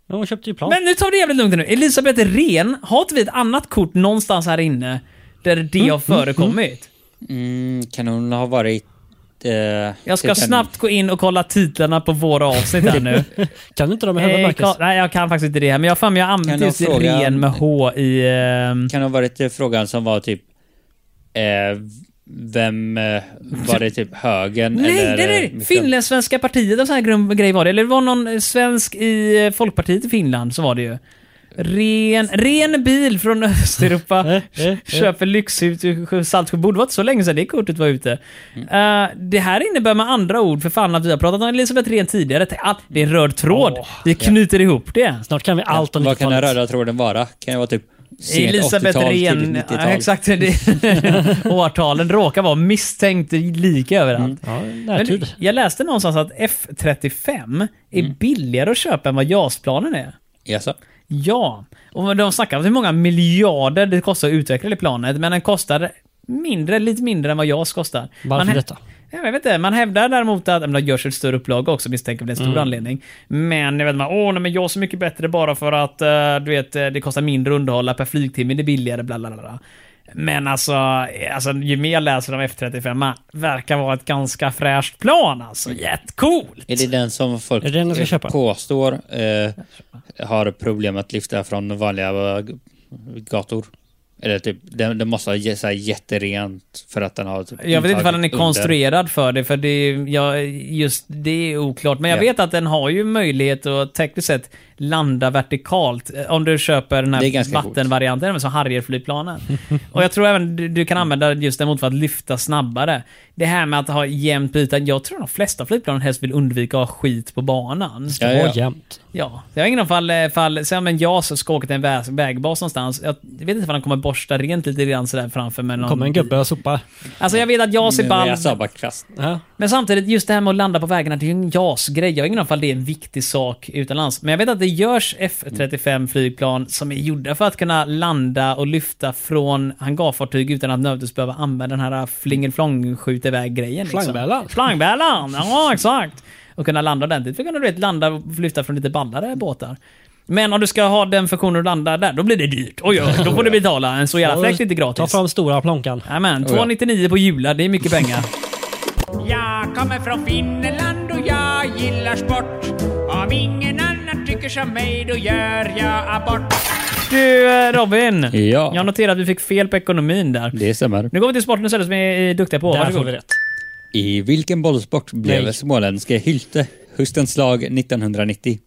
Speaker 4: Ja, hon köpte ju plan.
Speaker 3: Men nu tar vi det jävligt lugnt nu. Elisabeth Ren, har inte vi ett annat kort någonstans här inne där det har förekommit?
Speaker 1: Mm, kan hon ha varit... Eh,
Speaker 3: Jag ska
Speaker 1: typ en-
Speaker 3: snabbt gå in och kolla titlarna på våra avsnitt här nu.
Speaker 4: Kan inte de hemma,
Speaker 3: Eh,
Speaker 4: Marcus?
Speaker 3: Ka- Nej, jag kan faktiskt inte det här, men jag har för mig jag
Speaker 1: Kan
Speaker 3: använt
Speaker 1: jag
Speaker 3: just
Speaker 1: fråga-
Speaker 3: ren med H i... ehm,
Speaker 1: Kan det ha varit eh, frågan som var typ... Eh, vem... Eh, var det typ högen
Speaker 3: Nej,
Speaker 1: eller...
Speaker 3: nej,
Speaker 1: eh,
Speaker 3: nej!
Speaker 1: mitten?
Speaker 3: Finlandssvenska partiet, en sån här grum- grej var det. Eller det var någon eh, svensk i eh, Folkpartiet i Finland, så var det ju. Ren, ren bil från Östeuropa
Speaker 4: Eh, eh, eh.
Speaker 3: köper lyxhus i Sj- Saltsjö. Borde vara inte så länge sedan det kortet var ute. Eh, det här innebär med andra ord för fan att vi har pratat om Elisabeth Ren tidigare. Tänk, ah, Det är en röd tråd.
Speaker 4: Åh,
Speaker 3: vi knyter ihop det.
Speaker 4: Snart kan vi allt om
Speaker 1: Vad kan den
Speaker 4: 90-talet.
Speaker 1: röda tråden vara? Kan det vara typ... sent
Speaker 3: Elisabeth
Speaker 1: 80-tal, tidigt
Speaker 3: Rehn,
Speaker 1: 90-tal?
Speaker 3: ja, exakt. Det, årtalen råkar vara misstänkt lika överallt.
Speaker 4: Ja,
Speaker 3: Men
Speaker 4: närtid.
Speaker 3: jag läste någonstans att F35 är billigare att köpa än vad JAS-planen är.
Speaker 1: Jaså?
Speaker 3: Ja, och de snackar om hur många miljarder det kostar att utveckla det planet, men den kostar mindre, lite mindre än vad JAS kostar.
Speaker 4: Varför
Speaker 3: hä-
Speaker 4: detta?
Speaker 3: Jag vet inte, man hävdar däremot att, men de görs ett större upplaga också misstänker jag, det är en
Speaker 4: Mm.
Speaker 3: stor anledning. Men jag vet man, åh nej men JAS är mycket bättre bara för att eh, du vet, eh, det kostar mindre att underhålla per flygtimme, det är billigare, bla bla bla, bla. Men alltså, eh, alltså, ju mer jag läser om F35, verkar vara ett ganska fräscht plan alltså. Jättecoolt!
Speaker 1: Är det den som folk
Speaker 4: Är det den jag ska
Speaker 1: eh,
Speaker 4: köpa?
Speaker 1: påstår eh, har problem att lyfta från vanliga eh, gator? Eller typ, den, den måste ha jä- så här jätterent för att den har... Typ
Speaker 3: Jag vet inte
Speaker 1: intaget
Speaker 3: ifall den är
Speaker 1: under.
Speaker 3: konstruerad för det, för det, är- jag, just det är oklart. Men jag
Speaker 1: Ja.
Speaker 3: vet att den har ju möjlighet att tekniskt sett landa vertikalt. eh, Om du köper den
Speaker 1: Det är
Speaker 3: här
Speaker 1: ganska coolt.
Speaker 3: vattenvarianten, som Harrierflygplanen. och jag tror även du, du kan använda just den mot för att lyfta snabbare. Det här med att ha jämnt på ytan, jag tror de flesta flygplan helst vill undvika att ha skit på banan.
Speaker 1: Ja,
Speaker 4: Det
Speaker 1: ja.
Speaker 4: var jämnt.
Speaker 3: Ja, jag har ingen fall, fall sen men jag så ska åka till en väg, vägbas någonstans. Jag vet inte ifall de kommer borsta rent lite grann sådär framför med någon...
Speaker 4: kommer en gubbe och sopar.
Speaker 3: Alltså jag vet att jag ser
Speaker 1: Men
Speaker 3: ball.
Speaker 1: Mm, Jag sa bara kast.
Speaker 4: Ja.
Speaker 3: Men samtidigt, just det här med att landa på vägarna, det är ju en JAS-grej. Jag har ingen aning om det är en viktig sak utomlands. Men jag vet att det görs F35-flygplan som är gjorda för att kunna landa och lyfta från hangarfartyg utan att nödvändigtvis behöva använda den här flingelflong skjut iväg-grejen. liksom.
Speaker 4: Slangbällan.
Speaker 3: Slangbällan! Ja, exakt! Och kunna landa ordentligt. För att kunna du vet, landa och lyfta från lite ballare båtar. Men om du ska ha den funktionen att landa där, då blir det dyrt. Oj, oj, då får du betala. En så jävla fläkt är inte gratis.
Speaker 4: Ta fram stora plånkan.
Speaker 3: Jajamän,
Speaker 1: Oh, ja.
Speaker 3: 299 på Jula, det är mycket pengar.
Speaker 5: Jag kommer från Finland och jag gillar sport. Om ingen annan tycker som mig då gör jag abort.
Speaker 3: Du eh, Robin,
Speaker 1: Ja.
Speaker 3: jag noterade att vi fick fel på ekonomin där.
Speaker 1: Det stämmer.
Speaker 3: Nu går vi till sporten istället som vi är eh, duktiga på.
Speaker 4: Där
Speaker 3: Varsågod.
Speaker 4: får vi rätt.
Speaker 1: I vilken bollsport blev
Speaker 4: Nej.
Speaker 1: småländske Hylte höstens lag 1990?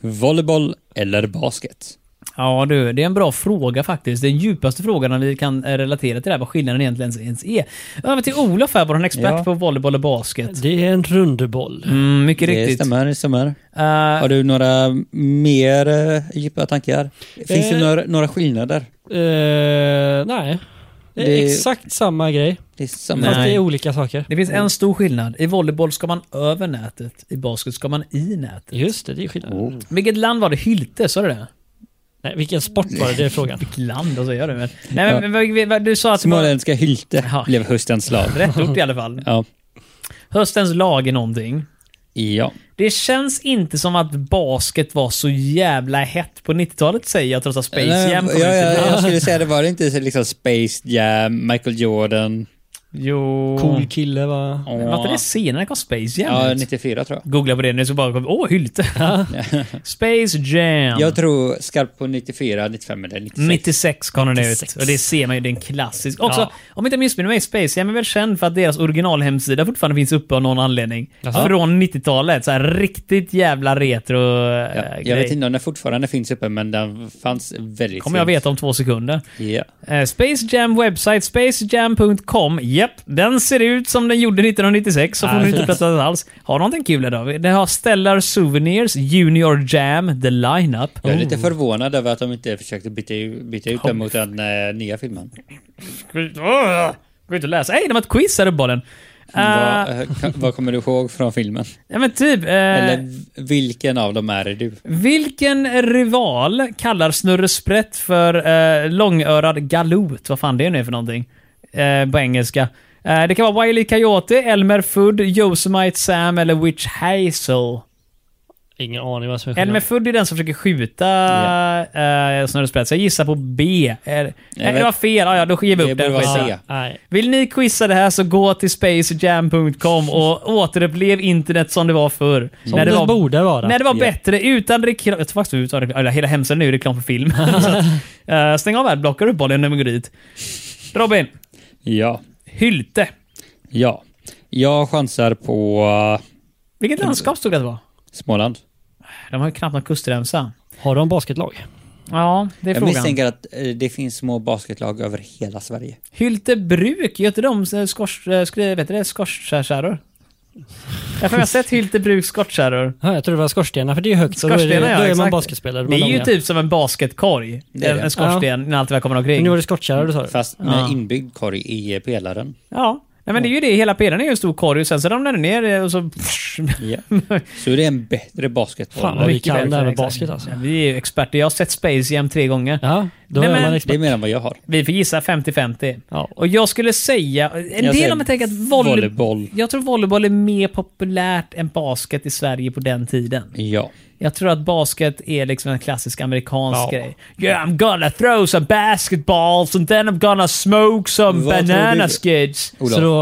Speaker 1: Volleyboll eller basket?
Speaker 3: Ja du, det är en bra fråga faktiskt. Den djupaste frågan när vi kan eh, relatera till det här, vad skillnaden egentligen ens är. Över till Olof här, vår expert
Speaker 1: Ja.
Speaker 3: på volleyboll och basket.
Speaker 4: Det är en rundboll.
Speaker 3: Mm, mycket
Speaker 1: Det
Speaker 3: riktigt.
Speaker 1: stämmer, det stämmer.
Speaker 3: Eh,
Speaker 1: Har du några mer eh, djupa tankar? Finns det
Speaker 4: Eh.
Speaker 1: några, några skillnader?
Speaker 4: Eh, nej. Det är
Speaker 1: Det-
Speaker 4: exakt samma grej.
Speaker 1: Det är samma.
Speaker 3: Nej.
Speaker 4: Fast det är olika saker.
Speaker 3: det
Speaker 1: Mm.
Speaker 3: finns en stor skillnad. I volleyboll ska man över nätet, i basket ska man i nätet.
Speaker 4: Just det, det är skillnad.
Speaker 1: Mm.
Speaker 3: Vilket land var det? Hylte, sa du det?
Speaker 4: Nej, vilken sport var det? Det är frågan.
Speaker 3: Vilket land? Alltså, gör du, men. Nej, men, vad- vad- vad- du sa att...
Speaker 1: Småländska Hylte
Speaker 3: Ja.
Speaker 1: blev höstens lag.
Speaker 3: Rätt ort i alla fall.
Speaker 1: Ja.
Speaker 3: Höstens lag är någonting.
Speaker 1: ja.
Speaker 3: Det känns inte som att basket var så jävla hett på 90-talet säger jag trots att Space
Speaker 1: Nej,
Speaker 3: Jam kom
Speaker 1: ja,
Speaker 3: ut.
Speaker 1: ja, Jag skulle säga det var det inte så liksom Space Jam, Michael Jordan.
Speaker 3: Jo...
Speaker 4: Cool kille va?
Speaker 3: Var inte det senare kom Space Jam
Speaker 1: Ja,
Speaker 3: ut?
Speaker 1: 94 tror jag.
Speaker 3: Googla på det nu så bara kom... Åh, Hylte! Space Jam!
Speaker 1: Jag tror skarpt på 94, 95 eller 96.
Speaker 3: 96 kom den ut.
Speaker 4: 96.
Speaker 3: Och det ser man ju, det är en klassisk. Också,
Speaker 4: Ja.
Speaker 3: om inte jag missminner mig, Space Jam är väl känd för att deras originalhemsida fortfarande finns uppe av någon anledning.
Speaker 4: Jaså?
Speaker 3: Från 90-talet. Så här riktigt jävla retro eh,
Speaker 1: Ja, jag
Speaker 3: grej.
Speaker 1: vet inte om den fortfarande finns uppe, men den fanns väldigt
Speaker 3: kommer jag
Speaker 1: sent.
Speaker 3: veta om två sekunder.
Speaker 1: Ja.
Speaker 3: Eh, Space Jam website, spacejam.com. Japp, den ser ut som den gjorde 1996, så får
Speaker 4: Ah,
Speaker 3: ni
Speaker 4: fint.
Speaker 3: inte plötsligt alls. Har någonting kul idag? Det har Stellar Souvenirs, Junior Jam, The Lineup.
Speaker 1: Jag är lite förvånad över att de inte försökte byta, u- byta ut den mot den eh, nya filmen.
Speaker 3: Åh, Går inte att läsa. Hej, de har ett quiz här uppenbarligen. Uh,
Speaker 1: Vad, eh, ka- vad kommer du ihåg från filmen?
Speaker 3: ja, men typ. eh,
Speaker 1: Eller v- vilken av dem är det du?
Speaker 3: Vilken rival kallar Snurre Sprätt för eh, långörad galot? Vad fan det nu är för någonting? Eh, på engelska. Eh, det kan vara Wiley Coyote, Elmer Fudd, Yosemite Sam eller Witch Hazel.
Speaker 4: Ingen aning vad som är
Speaker 3: Elmer
Speaker 4: skillnaden.
Speaker 3: Fudd är den som försöker skjuta yeah. Snurresprätt, så jag gissar på B. Är, nej, det
Speaker 1: vet-
Speaker 3: var fel. Ja, ja, då ger vi
Speaker 1: Det
Speaker 3: upp den
Speaker 1: borde vara
Speaker 3: skiten.
Speaker 1: C.
Speaker 4: Nej.
Speaker 3: Vill ni quizza det här så gå till spacejam.com och återupplev internet som det var förr.
Speaker 4: Som det,
Speaker 3: var,
Speaker 4: borde vara.
Speaker 3: när det var
Speaker 1: Ja.
Speaker 3: bättre, utan reklam. Jag tror faktiskt vi utan reklam. Eller hela hemsidan nu är ju reklam för film. så att, eh, stäng av adblocker uppenbarligen när vi går dit. Robin,
Speaker 1: Ja.
Speaker 3: Hylte.
Speaker 1: Ja. Jag chansar på eh,
Speaker 3: Vilket landskap stod det att det var?
Speaker 1: Småland.
Speaker 3: De har ju knappt någon kustremsa.
Speaker 4: Har de basketlag?
Speaker 3: Ja, det är
Speaker 1: Jag
Speaker 3: frågan.
Speaker 1: misstänker att eh, det finns små basketlag över hela Sverige.
Speaker 3: Hylte bruk, gör inte de eh, skors... eh, skri- Vet du det? Skorskärror? Jag har för mig sett Hylte bruk skorskärror.
Speaker 4: Ja, jag tror det var skorstenar, för det är högt. Så då är, det,
Speaker 3: Skorstenar, ja,
Speaker 4: då är man
Speaker 3: exakt.
Speaker 4: basketspelare.
Speaker 3: Det är ju
Speaker 4: långa.
Speaker 3: typ som en basketkorg.
Speaker 1: Det är det.
Speaker 3: En skorsten när allt väl kommer omkring.
Speaker 4: Nu var det skottkärra du sa.
Speaker 3: Eh,
Speaker 4: det.
Speaker 1: Fast med
Speaker 3: ah.
Speaker 1: inbyggd korg i eh, pelaren.
Speaker 3: Ja. Nej, men det är ju det, hela pelaren är ju en stor korg och sen så ramlar den ner eh, och så...
Speaker 1: Ja. Så det är en bättre basketboll.
Speaker 4: Fan vad vi
Speaker 3: Mycket
Speaker 4: kan det här med
Speaker 3: exakt.
Speaker 4: basket alltså.
Speaker 3: Ja, Vi är ju experter. Jag har sett Space Jam tre gånger.
Speaker 4: Ja, då
Speaker 3: Nej,
Speaker 4: är
Speaker 3: men-
Speaker 4: man
Speaker 1: Det är
Speaker 4: expert.
Speaker 1: mer än vad jag har.
Speaker 3: Vi får gissa 50-50.
Speaker 4: Ja.
Speaker 3: Och jag skulle säga... En
Speaker 1: Jag
Speaker 3: del
Speaker 1: säger
Speaker 3: om jag tänker att volley...
Speaker 1: volleyboll.
Speaker 3: Jag tror volleyboll är mer populärt än basket i Sverige på den tiden.
Speaker 1: Ja.
Speaker 3: Jag tror att basket är liksom en klassisk amerikansk
Speaker 4: Ja.
Speaker 3: grej. Yeah, I'm gonna throw some basketballs and then I'm gonna smoke some
Speaker 1: Vad tror
Speaker 3: banana
Speaker 1: du?
Speaker 3: skids.
Speaker 1: Olof.
Speaker 4: Så då,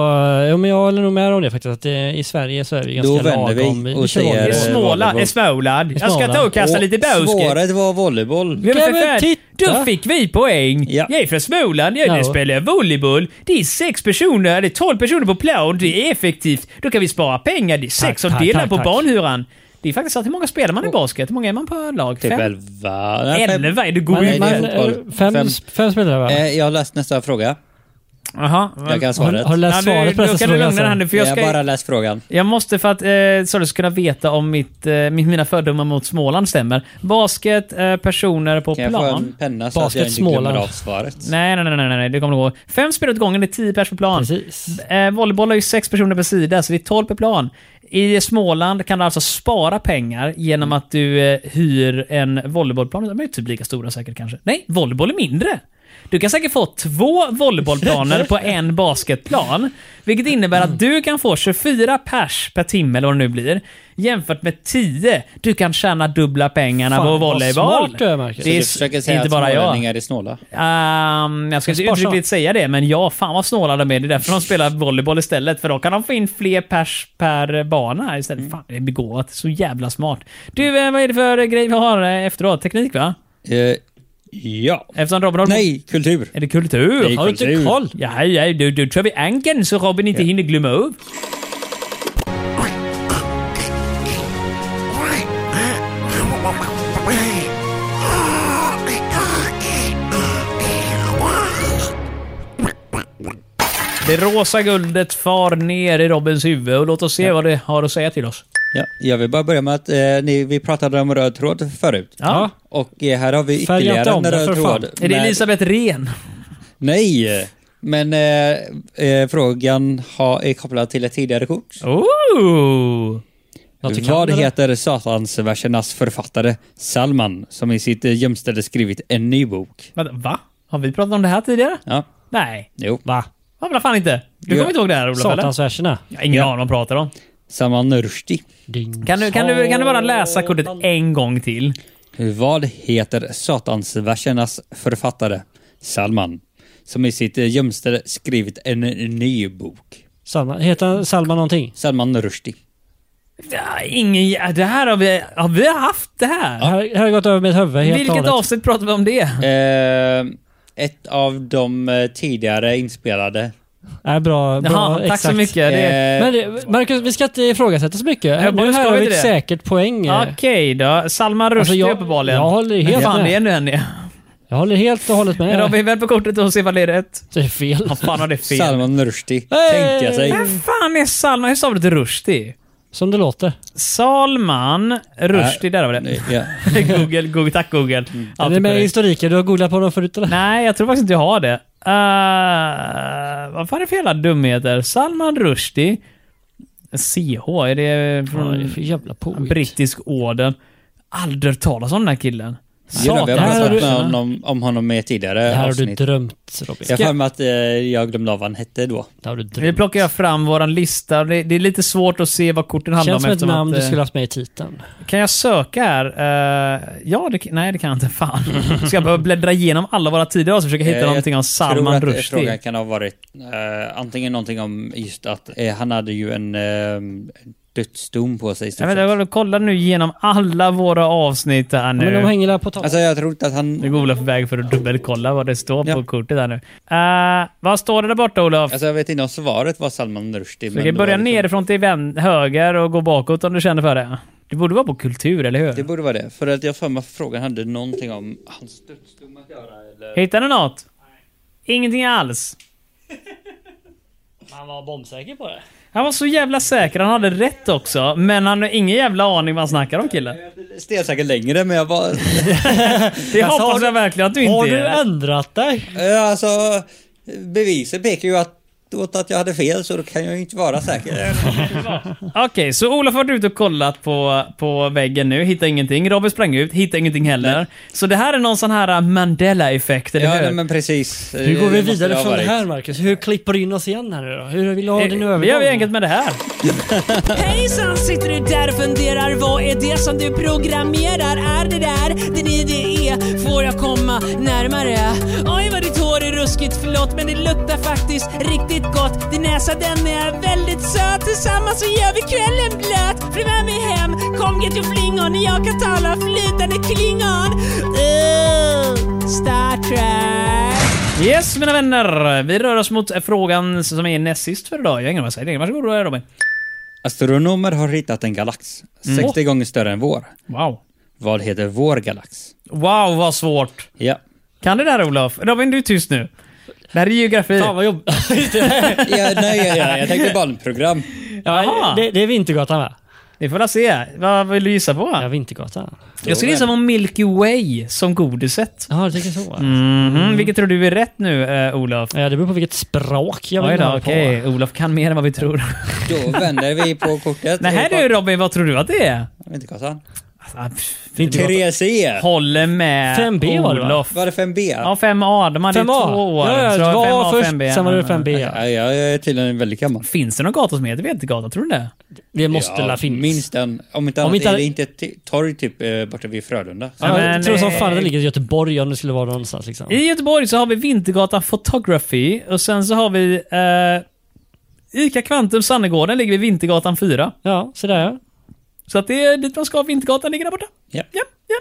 Speaker 4: ja, men jag håller nog med om det faktiskt. Att det, I Sverige så är vi ganska
Speaker 1: Då vänder vi
Speaker 4: lagom.
Speaker 1: och
Speaker 4: kör
Speaker 1: säger-
Speaker 3: Det är
Speaker 4: vanligt.
Speaker 1: Eh,
Speaker 3: Småland.
Speaker 1: volleyboll.
Speaker 3: Är Småland. Jag ska
Speaker 4: Småland.
Speaker 3: ta och kasta
Speaker 1: Och
Speaker 3: lite basket.
Speaker 1: Svaret var volleyboll.
Speaker 3: Ja, men för
Speaker 4: Ja, men
Speaker 3: fan.
Speaker 4: titta.
Speaker 3: Då fick vi poäng.
Speaker 1: Ja.
Speaker 3: Jag är från Småland. Jag
Speaker 4: Ja.
Speaker 3: spelar volleyboll. Det är sex personer, eller tolv personer på plan. Det är effektivt. Då kan vi spara pengar. Det är sex som
Speaker 4: tack,
Speaker 3: delar
Speaker 4: tack,
Speaker 3: på
Speaker 4: tack.
Speaker 3: banhyran. Det är faktiskt så att hur många spelar man i basket? Hur många är man per lag?
Speaker 1: Typ
Speaker 3: Fem?
Speaker 1: elva. Nej, fem.
Speaker 3: Elva? Är du
Speaker 4: Man,
Speaker 3: god?
Speaker 1: Nej, det
Speaker 4: man,
Speaker 1: är fotboll.
Speaker 4: eh, fem,
Speaker 1: Fem.
Speaker 4: fem spelare va?
Speaker 1: Eh, Jag har läst nästa fråga.
Speaker 3: Jaha.
Speaker 1: Jag kan
Speaker 4: Har,
Speaker 1: svaret.
Speaker 4: har du läst
Speaker 3: Ja,
Speaker 4: svaret på
Speaker 3: nu,
Speaker 4: nästa
Speaker 3: då kan du
Speaker 4: fråga?
Speaker 3: lugna dig här
Speaker 4: sen?
Speaker 3: nu, för jag, ska,
Speaker 1: Jag har bara läst frågan.
Speaker 3: jag måste för att eh, så du ska kunna veta om mitt, eh, mitt- mina fördomar mot Småland stämmer. Basket, eh, personer på
Speaker 1: Kan jag få en
Speaker 3: plan.
Speaker 1: penna så
Speaker 4: Basket
Speaker 1: att jag inte glömmer
Speaker 4: Småland.
Speaker 1: av svaret?
Speaker 3: Nej, nej, nej, nej, nej, det kommer nog gå. Fem spel åt gången, det är tio pers på plan.
Speaker 4: Precis.
Speaker 3: Eh, volleyboll har ju sex personer per sida, så det är tolv per plan. I Småland kan du alltså spara pengar genom att du eh, hyr en volleybollplan. De är ju typ lika stora säkert kanske. Nej, volleyboll är mindre. Du kan säkert få två volleybollplaner på en basketplan. Vilket innebär att du kan få 24 pers per timme eller vad det nu blir. Jämfört med 10. Du kan tjäna dubbla pengarna
Speaker 4: Fan,
Speaker 3: på
Speaker 4: vad
Speaker 3: volleyboll.
Speaker 4: smart du är, Marcus.
Speaker 3: Det
Speaker 1: Du
Speaker 3: är
Speaker 1: försöker
Speaker 3: s-
Speaker 1: säga
Speaker 3: inte
Speaker 1: att
Speaker 3: bara jag.
Speaker 1: smålänningar är snåla.
Speaker 3: Ehm, jag ska inte
Speaker 4: Sparsamt.
Speaker 3: uttryckligt säga det, men ja, fan vad snåla de är. Det är därför de spelar volleyboll istället, för då kan de få in fler pers per bana istället. Fan, det är begåvat. Så jävla smart. Du, eh, vad är det för grej vi har eh, efteråt? Teknik, va?
Speaker 1: Eh, Ja.
Speaker 3: Eftersom Robin har...
Speaker 1: Nej, kultur.
Speaker 3: Är det kultur?
Speaker 1: Nej,
Speaker 3: har du inte
Speaker 1: kultur.
Speaker 3: koll? Ja, ja, du, du kör vi anken så Robin inte hinner glömma upp. Det rosa guldet far ner i Robins huvud och låt oss se vad det har att säga till oss.
Speaker 1: Ja, jag vill bara börja med att eh, ni, vi pratade om röd tråd förut.
Speaker 3: Ja.
Speaker 1: Och eh, här har vi
Speaker 4: Färga inte
Speaker 1: ytterligare
Speaker 4: om
Speaker 1: en
Speaker 4: den, för
Speaker 1: röd
Speaker 4: fan.
Speaker 1: tråd.
Speaker 3: Är det
Speaker 1: med-
Speaker 3: Elisabeth Ren?
Speaker 1: Nej! Men eh, eh, frågan har, är kopplad till ett tidigare kort.
Speaker 3: Oh!
Speaker 4: Vatikan,
Speaker 1: Vad
Speaker 4: eller?
Speaker 1: heter Satansversernas författare Salman som i sitt eh, gömställe skrivit en ny bok?
Speaker 3: Vänta, Va? Har vi pratat om det här tidigare?
Speaker 1: Ja,
Speaker 3: Nej.
Speaker 1: jo.
Speaker 4: Va?
Speaker 3: Ja, men fan inte. Du
Speaker 1: Ja.
Speaker 3: kommer inte ihåg det här Olof? eller?
Speaker 4: Satansverserna.
Speaker 3: Jag har ingen aning vad de pratar om.
Speaker 1: Salman Rushdie.
Speaker 4: Ding.
Speaker 3: Kan du, kan, du, kan du bara läsa kortet en gång till?
Speaker 1: Vad heter Satansversernas författare Salman som i sitt eh, gömställe skrivit en ny bok?
Speaker 4: Salman, heter han Salman någonting?
Speaker 1: Salman Rushdie.
Speaker 3: Ja, ingen, ja, det här har vi, har vi haft det här?
Speaker 4: Det Här, det här har gått över mitt huvud helt och
Speaker 3: Vilket
Speaker 4: hållet.
Speaker 3: avsnitt pratar vi om det?
Speaker 1: Eh, ett av de eh, tidigare inspelade.
Speaker 4: Nej, bra, bra
Speaker 3: Jaha, tack
Speaker 4: exakt.
Speaker 3: så mycket. Det,
Speaker 1: Eh,
Speaker 4: Men det, Marcus, vi ska inte ifrågasätta så mycket.
Speaker 3: Ja,
Speaker 4: nu
Speaker 3: ska
Speaker 4: här
Speaker 3: vi
Speaker 4: har vi
Speaker 3: inte
Speaker 4: ett
Speaker 3: det?
Speaker 4: säkert poäng.
Speaker 3: Okej då. Salman Rushdie
Speaker 4: Alltså, jag-
Speaker 3: uppenbarligen.
Speaker 4: jag håller helt
Speaker 3: fan,
Speaker 4: med.
Speaker 3: det är nu henne.
Speaker 4: Jag håller helt och hållet med.
Speaker 3: Men Robin, väl på kortet och se vad det är rätt.
Speaker 4: Det är fel.
Speaker 3: Vad fan har det fel?
Speaker 1: Salman Rushdie.
Speaker 4: Hey!
Speaker 1: Tänkte jag sig.
Speaker 3: Vem fan är Salman? Hur sa du till Rushdie?
Speaker 4: Som det låter.
Speaker 3: Salman Rushdie, där var det.
Speaker 1: Ja.
Speaker 3: Google, Google, tack Google.
Speaker 4: Är
Speaker 1: Mm.
Speaker 3: Allt
Speaker 4: det
Speaker 3: är
Speaker 4: med i
Speaker 3: korrekt.
Speaker 4: historiken? Du har googlat på dem förut eller?
Speaker 3: Nej, jag tror faktiskt inte jag har det. Eh, vad fan är det för jävla dumheter? Salman Rushdie. CH, är det
Speaker 4: Vad är det
Speaker 3: från
Speaker 4: för jävla poet?
Speaker 3: brittisk orden? Aldrig hört talas om den här killen.
Speaker 1: Jöna, vi har
Speaker 3: Satan.
Speaker 1: pratat
Speaker 3: Här har
Speaker 1: med
Speaker 3: du-
Speaker 1: honom, om honom med
Speaker 3: Eh,
Speaker 4: Det
Speaker 1: tidigare
Speaker 4: här har du
Speaker 1: avsnitt.
Speaker 4: drömt Robin.
Speaker 1: Jag har för mig att eh, jag glömde av vad han hette då.
Speaker 4: Det har du
Speaker 3: Nu
Speaker 4: drömt.
Speaker 3: plockar jag fram våran lista. Det det är lite svårt att se vad korten handlar
Speaker 4: Känns som
Speaker 3: om.
Speaker 4: ett
Speaker 3: eftersom
Speaker 4: namn
Speaker 3: att,
Speaker 4: du
Speaker 3: eh,
Speaker 4: skulle haft med i titeln.
Speaker 3: Kan jag söka här? Eh, ja, det, nej det kan jag inte. Fan. Ska jag behöva bläddra igenom alla våra tidigare och försöka hitta
Speaker 1: Eh, jag
Speaker 3: någonting
Speaker 1: tror
Speaker 3: om Salman
Speaker 1: att eh, frågan
Speaker 3: Rushdie?
Speaker 1: kan ha varit eh, antingen någonting om just att eh, han hade ju en eh, dödsdom på sig. i stort
Speaker 3: Jag, vet,
Speaker 1: sett.
Speaker 3: inte, jag kollar nu igenom alla våra avsnitt här
Speaker 4: Ja,
Speaker 3: nu.
Speaker 4: men de hänger där på toppen.
Speaker 1: Alltså jag tror inte att han...
Speaker 3: Nu går Olof iväg för att dubbelkolla vad det står
Speaker 1: Ja.
Speaker 3: på kortet här nu. Eh, vad står det där borta Olof?
Speaker 1: Alltså jag vet inte om svaret var Salman Rushdie.
Speaker 3: Du
Speaker 1: men
Speaker 3: kan
Speaker 1: det
Speaker 3: börja
Speaker 1: var liksom-
Speaker 3: nerifrån till vän- höger och gå bakåt om du känner för det. Det borde vara på kultur, eller hur?
Speaker 1: Det borde vara det. För att jag har för mig att frågan hade någonting om hans dödsdom att göra eller...
Speaker 3: Hittar du något? Ingenting alls. Alltså-
Speaker 4: Man var bombsäker på det.
Speaker 3: Han var så jävla säker, han hade rätt också. Men han har ingen jävla aning vad han snackar om killen.
Speaker 1: Stensäker längre men jag var...
Speaker 3: Det
Speaker 4: Alltså, har
Speaker 3: hoppas
Speaker 4: du-
Speaker 3: jag verkligen att du
Speaker 4: Har
Speaker 3: inte
Speaker 4: du
Speaker 3: är.
Speaker 4: ändrat dig?
Speaker 1: Eh, alltså beviset pekar ju att, åt att jag hade fel så då kan jag ju inte vara säker.
Speaker 3: Okej, så Olof har varit ute och kollat på, på väggen nu, hittar ingenting. Robin sprang ut, hittar ingenting heller. Så det här är någon sån här uh, Mandela-effekt, eller
Speaker 1: ja
Speaker 3: hur?
Speaker 1: nej, men precis. Eh,
Speaker 4: Hur
Speaker 1: det
Speaker 4: går vi
Speaker 1: måste
Speaker 4: vidare
Speaker 1: det ha
Speaker 4: från det
Speaker 1: varit.
Speaker 4: här Marcus? Hur klipper du in oss igen här nu då? Hur vill du ha din
Speaker 3: Eh,
Speaker 4: övergång?
Speaker 3: Vi gör vi enkelt med det här.
Speaker 6: Hejsan, sitter du där och funderar? Vad är det som du programmerar? Är det där din idé? Får jag komma närmare? Oj, vad ditt hår är ruskigt, förlåt, men det luktar faktiskt riktigt gott. Din näsa, den är väldigt söt. Tillsammans så gör vi kvällen blöt. Följ med mig hem, kom get your flingon. Jag kan tala flytande klingon. Uh, Star Trek.
Speaker 3: Yes, mina vänner. Vi rör oss mot eh, frågan som är näst sist för idag. Jag ägnar mig åt det. Varsågod Robin.
Speaker 1: Astronomer har hittat en galax 60 gånger större än vår.
Speaker 3: Wow.
Speaker 1: Vad heter vår galax?
Speaker 3: Wow, vad svårt.
Speaker 1: Ja.
Speaker 3: Kan det där Olof? Robin, du är tyst nu. Det här är geografi.
Speaker 4: Fan vad jobbigt.
Speaker 1: ja nej, ja, ja, jag tänkte barnprogram.
Speaker 3: Jaha.
Speaker 4: det, det är Vintergatan va?
Speaker 3: Vi får väl se. Vad vill du gissa på?
Speaker 4: Ja, Vintergatan.
Speaker 3: Jag skulle gissa på Milky Way som godiset.
Speaker 4: Ja, du tänker så.
Speaker 3: Mhm, Vilket tror du är rätt nu, eh, Olof?
Speaker 4: Mm. Ja, det beror på vilket språk jag
Speaker 3: Oj
Speaker 4: vill
Speaker 3: då,
Speaker 4: ha det
Speaker 3: okej.
Speaker 4: på.
Speaker 3: Olof kan mer än vad vi tror.
Speaker 1: Då vänder vi på kortet.
Speaker 3: Nej, här du Robin, vad tror du att det är?
Speaker 1: Vintergatan.
Speaker 3: Alltså, pff,
Speaker 1: Tre C.
Speaker 3: Håller med
Speaker 4: 5B var det, va?
Speaker 3: Olof.
Speaker 1: Var E. det 5B?
Speaker 3: Ja, 5A. De hade ju
Speaker 4: 5A.
Speaker 3: två år.
Speaker 4: Ja, ja,
Speaker 3: Så
Speaker 4: det var
Speaker 3: 5A,
Speaker 4: först,
Speaker 3: 5B.
Speaker 4: sen var det
Speaker 3: Ja, ja.
Speaker 4: 5B.
Speaker 1: Ja, jag är tydligen väldigt gammal.
Speaker 3: Mm. Finns det någon gata som heter Vetergata? Tror du det?
Speaker 4: Det måste
Speaker 1: Ja,
Speaker 4: la finnas.
Speaker 1: Minst en. Om inte annat
Speaker 4: inte-
Speaker 1: är det inte ett t- torg typ eh, borta vid Frölunda.
Speaker 3: Ja,
Speaker 4: Ja,
Speaker 3: men,
Speaker 4: jag tror som fan
Speaker 3: eh,
Speaker 4: det ligger i Göteborg om det skulle vara någonstans liksom.
Speaker 3: I Göteborg så har vi Vintergatan Photography och sen så har vi eh, Ica Kvantum Sannegården ligger vid Vintergatan 4.
Speaker 4: Ja, så där ja.
Speaker 3: Så att det är dit man ska. Vintergatan ligger där borta.
Speaker 1: Ja.
Speaker 3: Ja, ja.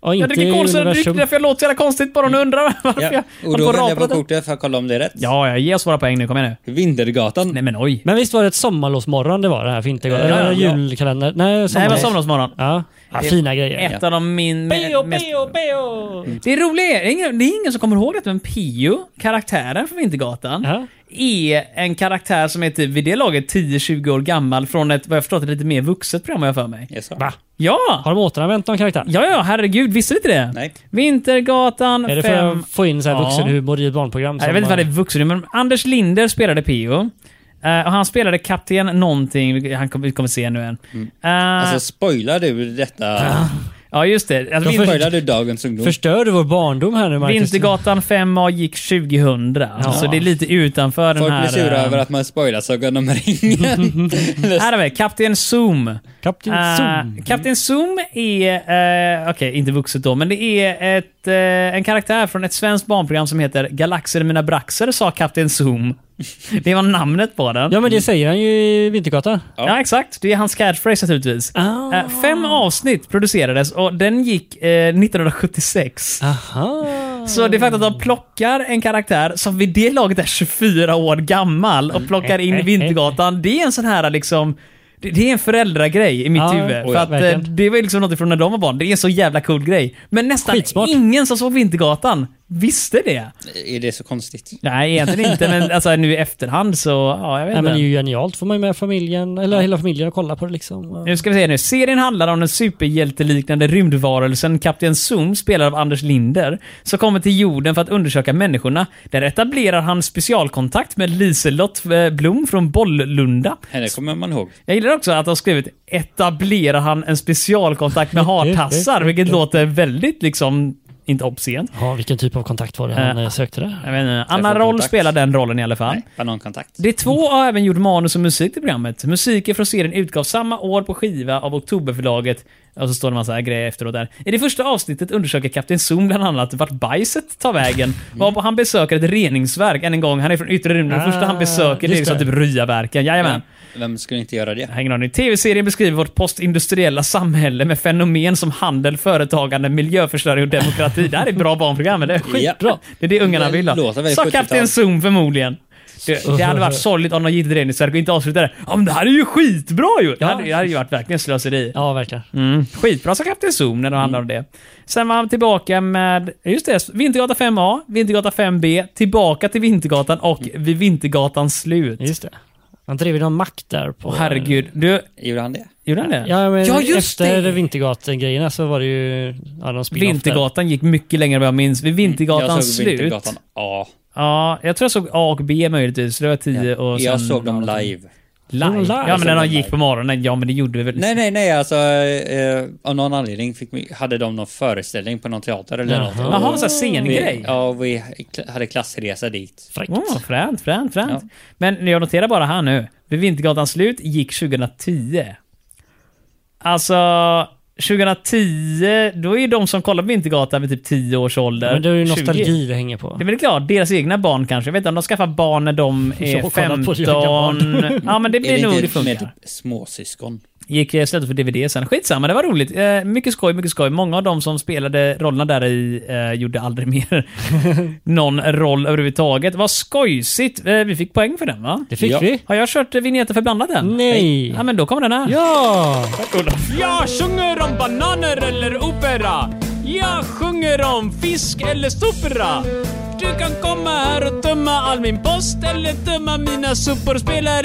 Speaker 4: Och
Speaker 3: Jag
Speaker 4: inte i
Speaker 3: dricker kolsyradryck, det är
Speaker 4: universum.
Speaker 3: därför jag låter så jävla konstigt bara om ni undrar varför
Speaker 1: Ja.
Speaker 3: jag
Speaker 1: Och
Speaker 3: håller
Speaker 1: då
Speaker 3: på
Speaker 1: vänder
Speaker 3: och
Speaker 1: jag på
Speaker 3: rapar lite.
Speaker 1: kortet för att kolla om det är rätt.
Speaker 3: Ja, ja, ge oss våra poäng nu. Kom igen nu.
Speaker 1: Vintergatan.
Speaker 3: Nej men oj.
Speaker 4: Men visst var det ett sommarlovsmorgon det var det här för inte
Speaker 3: Ja, ja, ja.
Speaker 4: Eller julkalender? Nej,
Speaker 3: Nej, det var
Speaker 4: sommarlovs.
Speaker 3: sommarlovsmorgon.
Speaker 4: Ja. ja, fina grejer.
Speaker 3: Ett av de min...
Speaker 4: Beo,
Speaker 3: mest-
Speaker 4: beo, beo!
Speaker 3: Det är roliga är, det är ingen- det är ingen som kommer ihåg det, men Pio, karaktären från Vintergatan,
Speaker 4: Ja.
Speaker 3: är en karaktär som är typ vid det laget 10-20 år gammal från ett, vad jag förstått, ett lite mer vuxet program har jag för mig.
Speaker 1: Jaså?
Speaker 4: Va?
Speaker 3: Ja!
Speaker 4: Har de återanvänt någon karaktär?
Speaker 3: Ja, ja, herregud, visste du inte det?
Speaker 1: Nej.
Speaker 3: Vintergatan 5...
Speaker 4: Är det för att få in så här
Speaker 3: Ja.
Speaker 4: vuxenhumor i ett barnprogram?
Speaker 3: Nej,
Speaker 4: som
Speaker 3: Jag vet inte
Speaker 4: man-
Speaker 3: vad det är vuxen men Anders Linder spelade Pio. Eh, och han spelade kapten någonting, han kommer, vi kommer se nu än. Eh,
Speaker 1: Alltså spoilar du detta?
Speaker 3: ja, just det. Alltså,
Speaker 1: Då
Speaker 3: Vinter-
Speaker 1: spoilar du dagens ungdom.
Speaker 4: Förstör du vår barndom här nu Marcus?
Speaker 3: Vintergatan 5A gick 2000. Så det är lite utanför
Speaker 1: Folk
Speaker 3: den här...
Speaker 1: blir sura
Speaker 3: eh,
Speaker 1: över att man spoilar Sagan om ringen.
Speaker 3: Här har vi Kapten Zoom.
Speaker 4: Kapten
Speaker 3: Eh,
Speaker 4: Zoom.
Speaker 3: Kapten Zoom är, eh, okej, inte vuxet då, men det är ett, eh, en karaktär från ett svenskt barnprogram som heter Galaxer i mina braxer, sa Kapten Zoom. Det var namnet på den.
Speaker 4: Ja men det säger han ju i Vintergatan.
Speaker 3: Ja. exakt. Det är hans catchphrase naturligtvis.
Speaker 4: Ah.
Speaker 3: Eh, fem avsnitt producerades och den gick eh, 1976.
Speaker 4: Ah. Aha.
Speaker 3: Så det är faktiskt att de plockar en karaktär som vid det laget är 24 år gammal och plockar
Speaker 4: Eh,
Speaker 3: in i Vintergatan. Det är en sån här liksom... Det det är en föräldragrej i mitt
Speaker 4: Ja,
Speaker 3: huvud.
Speaker 4: oj,
Speaker 3: För att, eh,
Speaker 4: verkligen.
Speaker 3: det var ju liksom något från när de var barn. Det är en så jävla cool grej. Men nästan
Speaker 4: Skitsmart.
Speaker 3: ingen som såg Vintergatan visste det.
Speaker 1: Är det så konstigt?
Speaker 3: Nej, egentligen inte, men alltså, nu i efterhand så, ja, jag vet
Speaker 4: Nej,
Speaker 3: inte.
Speaker 4: men det är ju genialt. Får man ju med familjen, eller hela familjen och kolla på det liksom.
Speaker 3: Nu ska vi se nu. Serien handlar om den superhjälteliknande rymdvarelsen Kapten Zoom, spelad av Anders Linder, som kommer till jorden för att undersöka människorna. Där etablerar han specialkontakt med Liselott eh, Blom från Bollunda.
Speaker 1: Henne kommer man ihåg.
Speaker 3: Jag gillar också att de har skrivit “etablerar han en specialkontakt med hartassar”, vilket låter väldigt liksom, inte obscent.
Speaker 4: Ja, vilken typ av kontakt var det han
Speaker 3: Eh.
Speaker 4: eh, sökte där?
Speaker 3: Jag vet inte. Anna Roll
Speaker 1: kontakt.
Speaker 3: spelar den rollen i alla fall.
Speaker 1: Nej, banankontakt.
Speaker 3: De två har även gjort manus och musik till programmet. Musiken från serien utgavs samma år på skiva av Oktoberförlaget. Och så står det en massa grejer efteråt där. I det första avsnittet undersöker Kapten Zoom bland annat vart bajset tar vägen.
Speaker 4: Mm.
Speaker 3: Varpå han besöker ett reningsverk än en gång. Han är från yttre rymden. Det första han
Speaker 4: Ah,
Speaker 3: besöker det är
Speaker 4: just
Speaker 3: liksom
Speaker 4: det.
Speaker 3: typ Ryaverken. Jajamän.
Speaker 1: Vem skulle inte göra det?
Speaker 3: Jag har ingen aning. TV-serien beskriver vårt postindustriella samhälle med fenomen som handel, företagande, miljöförstöring och demokrati. Det här är ett bra barnprogram, men det är skitbra.
Speaker 1: Ja.
Speaker 3: Det är det ungarna vill ha.
Speaker 1: Låter väldigt
Speaker 3: Sa
Speaker 1: 70-tal.
Speaker 3: Kapten Zoom förmodligen. Det, det hade varit sorgligt om de gick till reningsverk och inte avslutade det. Ja, men det här är ju skitbra ju! Det hade, det hade ju varit verkligen slöseri.
Speaker 4: Ja, verkligen.
Speaker 3: Mm. Skitbra sa Kapten Zoom när det handlade om det. Sen var han tillbaka med, just det, Vintergatan 5A, Vintergatan 5B, tillbaka till Vintergatan och vid Vintergatans slut.
Speaker 4: Just det. Han drev ju någon mack där på...
Speaker 3: Åh, herregud, du,
Speaker 1: Gjorde han det?
Speaker 3: gjorde han det?
Speaker 4: Ja, men
Speaker 3: Ja, just
Speaker 4: efter
Speaker 3: det!
Speaker 4: Vintergatan-grejerna så var det ju... Ja, någon spin-off där.
Speaker 3: Vintergatan gick mycket längre än vad jag minns. Vid
Speaker 1: Mm. jag
Speaker 3: Vintergatans
Speaker 1: såg
Speaker 3: slut.
Speaker 1: Vintergatan A.
Speaker 3: Ja, jag tror jag såg A och B möjligtvis. Det var 10 och sen...
Speaker 1: Jag såg dem live.
Speaker 3: live.
Speaker 4: Live.
Speaker 3: Ja, men när
Speaker 1: Jag
Speaker 3: de
Speaker 1: såg dem
Speaker 3: gick
Speaker 1: live.
Speaker 3: på morgonen. Ja, men det gjorde vi väl.
Speaker 1: Nej, nej, nej, alltså eh, av någon anledning fick vi, hade de någon föreställning på någon teater eller något. Och
Speaker 3: Jaha, en
Speaker 1: vi,
Speaker 3: sån här scengrej. Ja.
Speaker 1: ja, och vi kla- hade klassresa dit.
Speaker 4: Fräckt.
Speaker 3: Oh, fränt, fränt, fränt. Men jag noterar bara här nu. Vid Vintergatans slut gick 2010. Alltså, 2010, då är ju de som kollar på Vintergatan vid typ 10 års ålder.
Speaker 4: Men det är ju nostalgi
Speaker 3: 20.
Speaker 4: det hänger på.
Speaker 3: Det är väl klart, deras egna barn kanske. Jag vet inte om de skaffar barn när de är
Speaker 4: Så kolla på
Speaker 3: 15.
Speaker 4: dina barn.
Speaker 3: Ja, men det blir nog det funkar.
Speaker 1: med typ småsyskon?
Speaker 3: Gick eh, istället för DVD sen. Skitsamma, det var roligt. Eh, mycket skoj, mycket skoj. Många av de som spelade rollerna där i eh, gjorde aldrig mer någon roll överhuvudtaget. Vad skojsigt. Eh, vi fick poäng för den va?
Speaker 4: Det fick
Speaker 1: Ja.
Speaker 4: vi.
Speaker 3: Har jag kört eh, vignetten för blandat än?
Speaker 4: Nej.
Speaker 3: Ja, men då kommer den här.
Speaker 4: Ja!
Speaker 3: Jag sjunger om bananer eller opera. Jag sjunger om fisk eller sopra. Du kan komma här och tömma all min post eller tömma mina sopor. Spelar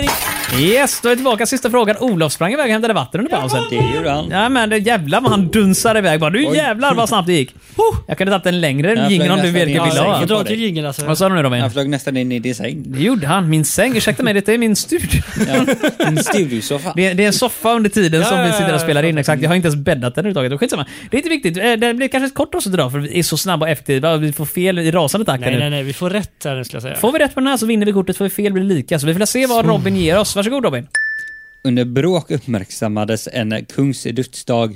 Speaker 3: Yes, då är vi tillbaka. Sista frågan. Olof sprang iväg och hämtade vatten under pausen.
Speaker 1: Det gjorde han.
Speaker 3: Ja men det jävlar vad han dunsar iväg bara. Du
Speaker 1: Oj.
Speaker 3: jävlar vad snabbt det gick. Huh. Jag kunde tagit en längre
Speaker 1: Jag
Speaker 3: jingel om
Speaker 1: flög
Speaker 3: du
Speaker 1: nästan
Speaker 3: verkligen
Speaker 1: in i
Speaker 3: ville ha.
Speaker 1: sängen.
Speaker 4: Dra till jingeln alltså.
Speaker 3: Vad sa du nu Robin?
Speaker 1: Han flög nästan in i din säng.
Speaker 3: Det gjorde han. Min säng. Ursäkta mig, detta är min studio.
Speaker 1: Ja, en studiosoffa.
Speaker 3: Det, det är en soffa under tiden
Speaker 4: Ja,
Speaker 3: som
Speaker 4: ja,
Speaker 3: vi
Speaker 4: ja,
Speaker 3: sitter och
Speaker 4: jag
Speaker 3: spelar in. Exakt. Jag har inte ens bäddat den överhuvudtaget. Skitsamma. Det är inte viktigt. Eh, Det blir kanske ett kort avsnitt idag för vi är så snabba och effektiva. Vi får fel i rasande takt. här nu.
Speaker 4: Nej, nej, nej. Vi får rätt där nu skulle jag säga.
Speaker 3: Får vi rätt på den här så vinner vi kortet. Får vi fel blir det lika. Så vi får se vad Robin ger oss. Varsågod Robin.
Speaker 1: Under bråk uppmärksammades en kungs dödsdag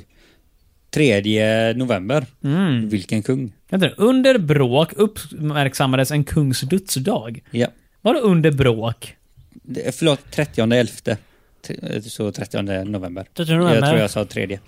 Speaker 1: 3 november.
Speaker 4: Mm.
Speaker 1: Vilken kung?
Speaker 3: Mm. Vänta nu. Under bråk uppmärksammades en kungs dödsdag.
Speaker 1: Ja.
Speaker 3: Vadå under bråk?
Speaker 1: Det- Förlåt, 30 elfte. T- Så 30 november.
Speaker 4: 30 november.
Speaker 1: Jag tror jag sa tredje.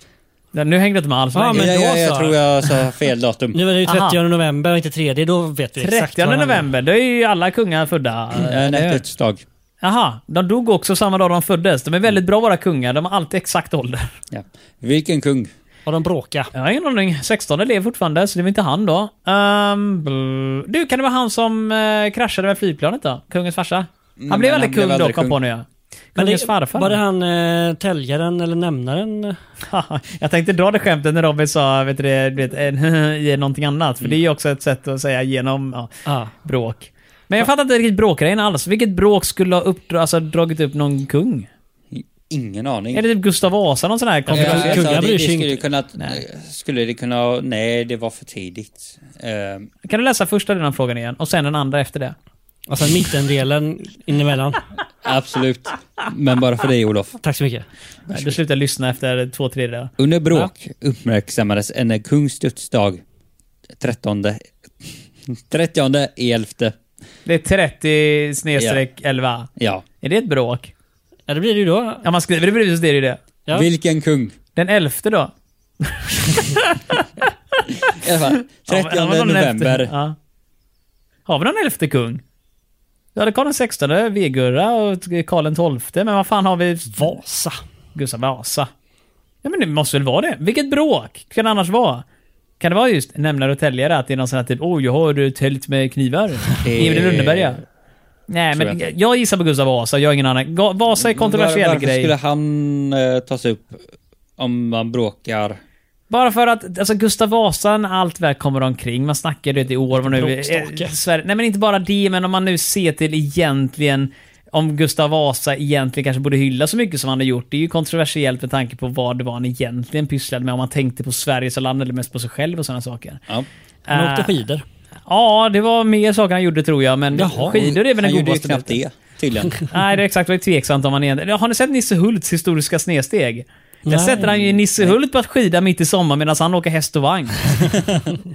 Speaker 3: Ja, Nu hängde det inte med alls.
Speaker 4: Ja, men
Speaker 1: jag,
Speaker 4: då
Speaker 1: jag, jag
Speaker 4: så.
Speaker 1: tror jag sa fel datum.
Speaker 4: Nu är det ju 30
Speaker 3: Aha.
Speaker 4: november och inte 3. Då vet vi exakt
Speaker 3: 30
Speaker 4: vad han- Mm,
Speaker 3: november, då är ju alla kungar födda.
Speaker 1: En dödsdag.
Speaker 3: Jaha, de dog också samma dag de föddes. De är väldigt bra våra kungar, de har alltid exakt ålder.
Speaker 1: Ja. Vilken kung?
Speaker 4: Har de bråkat?
Speaker 3: Jag har ingen aning. 16 lever fortfarande, så det är väl inte han då. Ehm, bl- du, kan det vara han som eh, kraschade med flygplanet då? Kungens farsa? Han
Speaker 1: men
Speaker 3: blev
Speaker 1: Mm, han
Speaker 3: aldrig
Speaker 1: blev
Speaker 3: kung då,
Speaker 1: aldrig
Speaker 3: kom
Speaker 1: kung.
Speaker 3: på nu ja.
Speaker 4: Men
Speaker 3: Kungens
Speaker 4: det-
Speaker 3: farfar?
Speaker 4: Var det han eh, täljaren eller nämnaren?
Speaker 3: jag tänkte dra det skämtet när Robin sa vet du, det, du vet, en i någonting annat. För det är ju också ett sätt att säga genom ja,
Speaker 4: Ja.
Speaker 3: bråk. Men jag fattar inte riktigt bråkgrejen alls. Vilket bråk skulle ha uppdra, alltså, dragit upp någon kung?
Speaker 1: Ingen aning.
Speaker 3: Är det typ Gustav Vasa, någon sån här
Speaker 1: Ja,
Speaker 4: kungar-
Speaker 1: alltså,
Speaker 3: konfirmation?
Speaker 4: kungar
Speaker 1: det,
Speaker 4: bryr
Speaker 1: det
Speaker 4: sig
Speaker 1: skulle
Speaker 4: inte.
Speaker 1: kunna...
Speaker 3: Nej.
Speaker 1: Skulle det kunna... Nej, det var för tidigt. Ehm,
Speaker 3: Kan du läsa första delen av frågan igen och sen den andra efter det?
Speaker 4: Och sen mittendelen inemellan.
Speaker 1: absolut. Men bara för dig, Olof.
Speaker 4: Tack så mycket.
Speaker 3: Nej, Du slutar lyssna efter två tredjedelar.
Speaker 1: Under bråk uppmärksammades en kungs dödsdag 13... 30 i elfte.
Speaker 3: Det är 30 snedstreck 11.
Speaker 1: Ja.
Speaker 3: Är det ett bråk?
Speaker 4: Ja, det blir det ju då.
Speaker 3: Ja, man skriver det bredvid så det är det ju det.
Speaker 4: Ja.
Speaker 1: Vilken kung?
Speaker 3: Den 11 då?
Speaker 1: I alla fall, 30
Speaker 3: Ja, men- ja, men någon elfte.
Speaker 1: november.
Speaker 3: Ja. Har vi någon elfte kung? Ja, det är Karl XVI, Vegurra och Karl XII, men vad fan har vi?
Speaker 4: Vasa.
Speaker 3: Gustav Vasa. Ja, men det måste väl vara det? Vilket bråk kan det annars vara? Kan det vara just nämnare och täljare? Att det är någon sån här typ, åh, jag har täljt med knivar.
Speaker 1: Det-
Speaker 3: Emil i Lönneberga. Nej,
Speaker 1: tror
Speaker 3: men
Speaker 1: jag
Speaker 3: jag, gissar på Gustav Vasa, jag har ingen aning. Ga- Vasa är kontroversiell
Speaker 1: Var, varför
Speaker 3: grej.
Speaker 1: skulle han eh, tas upp om man bråkar?
Speaker 3: Bara för att alltså, Gustav Vasa, när allt väl kommer omkring, man snackar det i år, vad nu...
Speaker 4: Bråkstake.
Speaker 3: eh, Sverige, nej men inte bara det, men om man nu ser till egentligen om Gustav Vasa egentligen kanske borde hylla så mycket som han har gjort. Det är ju kontroversiellt med tanke på vad det var han egentligen pysslade med. Om man tänkte på Sverige som land eller mest på sig själv och sådana saker.
Speaker 1: Ja.
Speaker 4: Han åkte
Speaker 3: Eh,
Speaker 4: skidor.
Speaker 3: Ja, det var mer saker han gjorde tror jag, men
Speaker 4: Jaha.
Speaker 3: skidor är väl
Speaker 1: han
Speaker 3: en god
Speaker 1: gjorde ju knappt
Speaker 3: botten.
Speaker 1: det, tydligen.
Speaker 3: Nej, det är exakt. Det är tveksamt om han egentligen... Har ni sett Nisse Hults historiska snedsteg? Där
Speaker 4: Nej.
Speaker 3: sätter han ju Nisse Hult på att skida mitt i sommar medan han åker häst och vagn.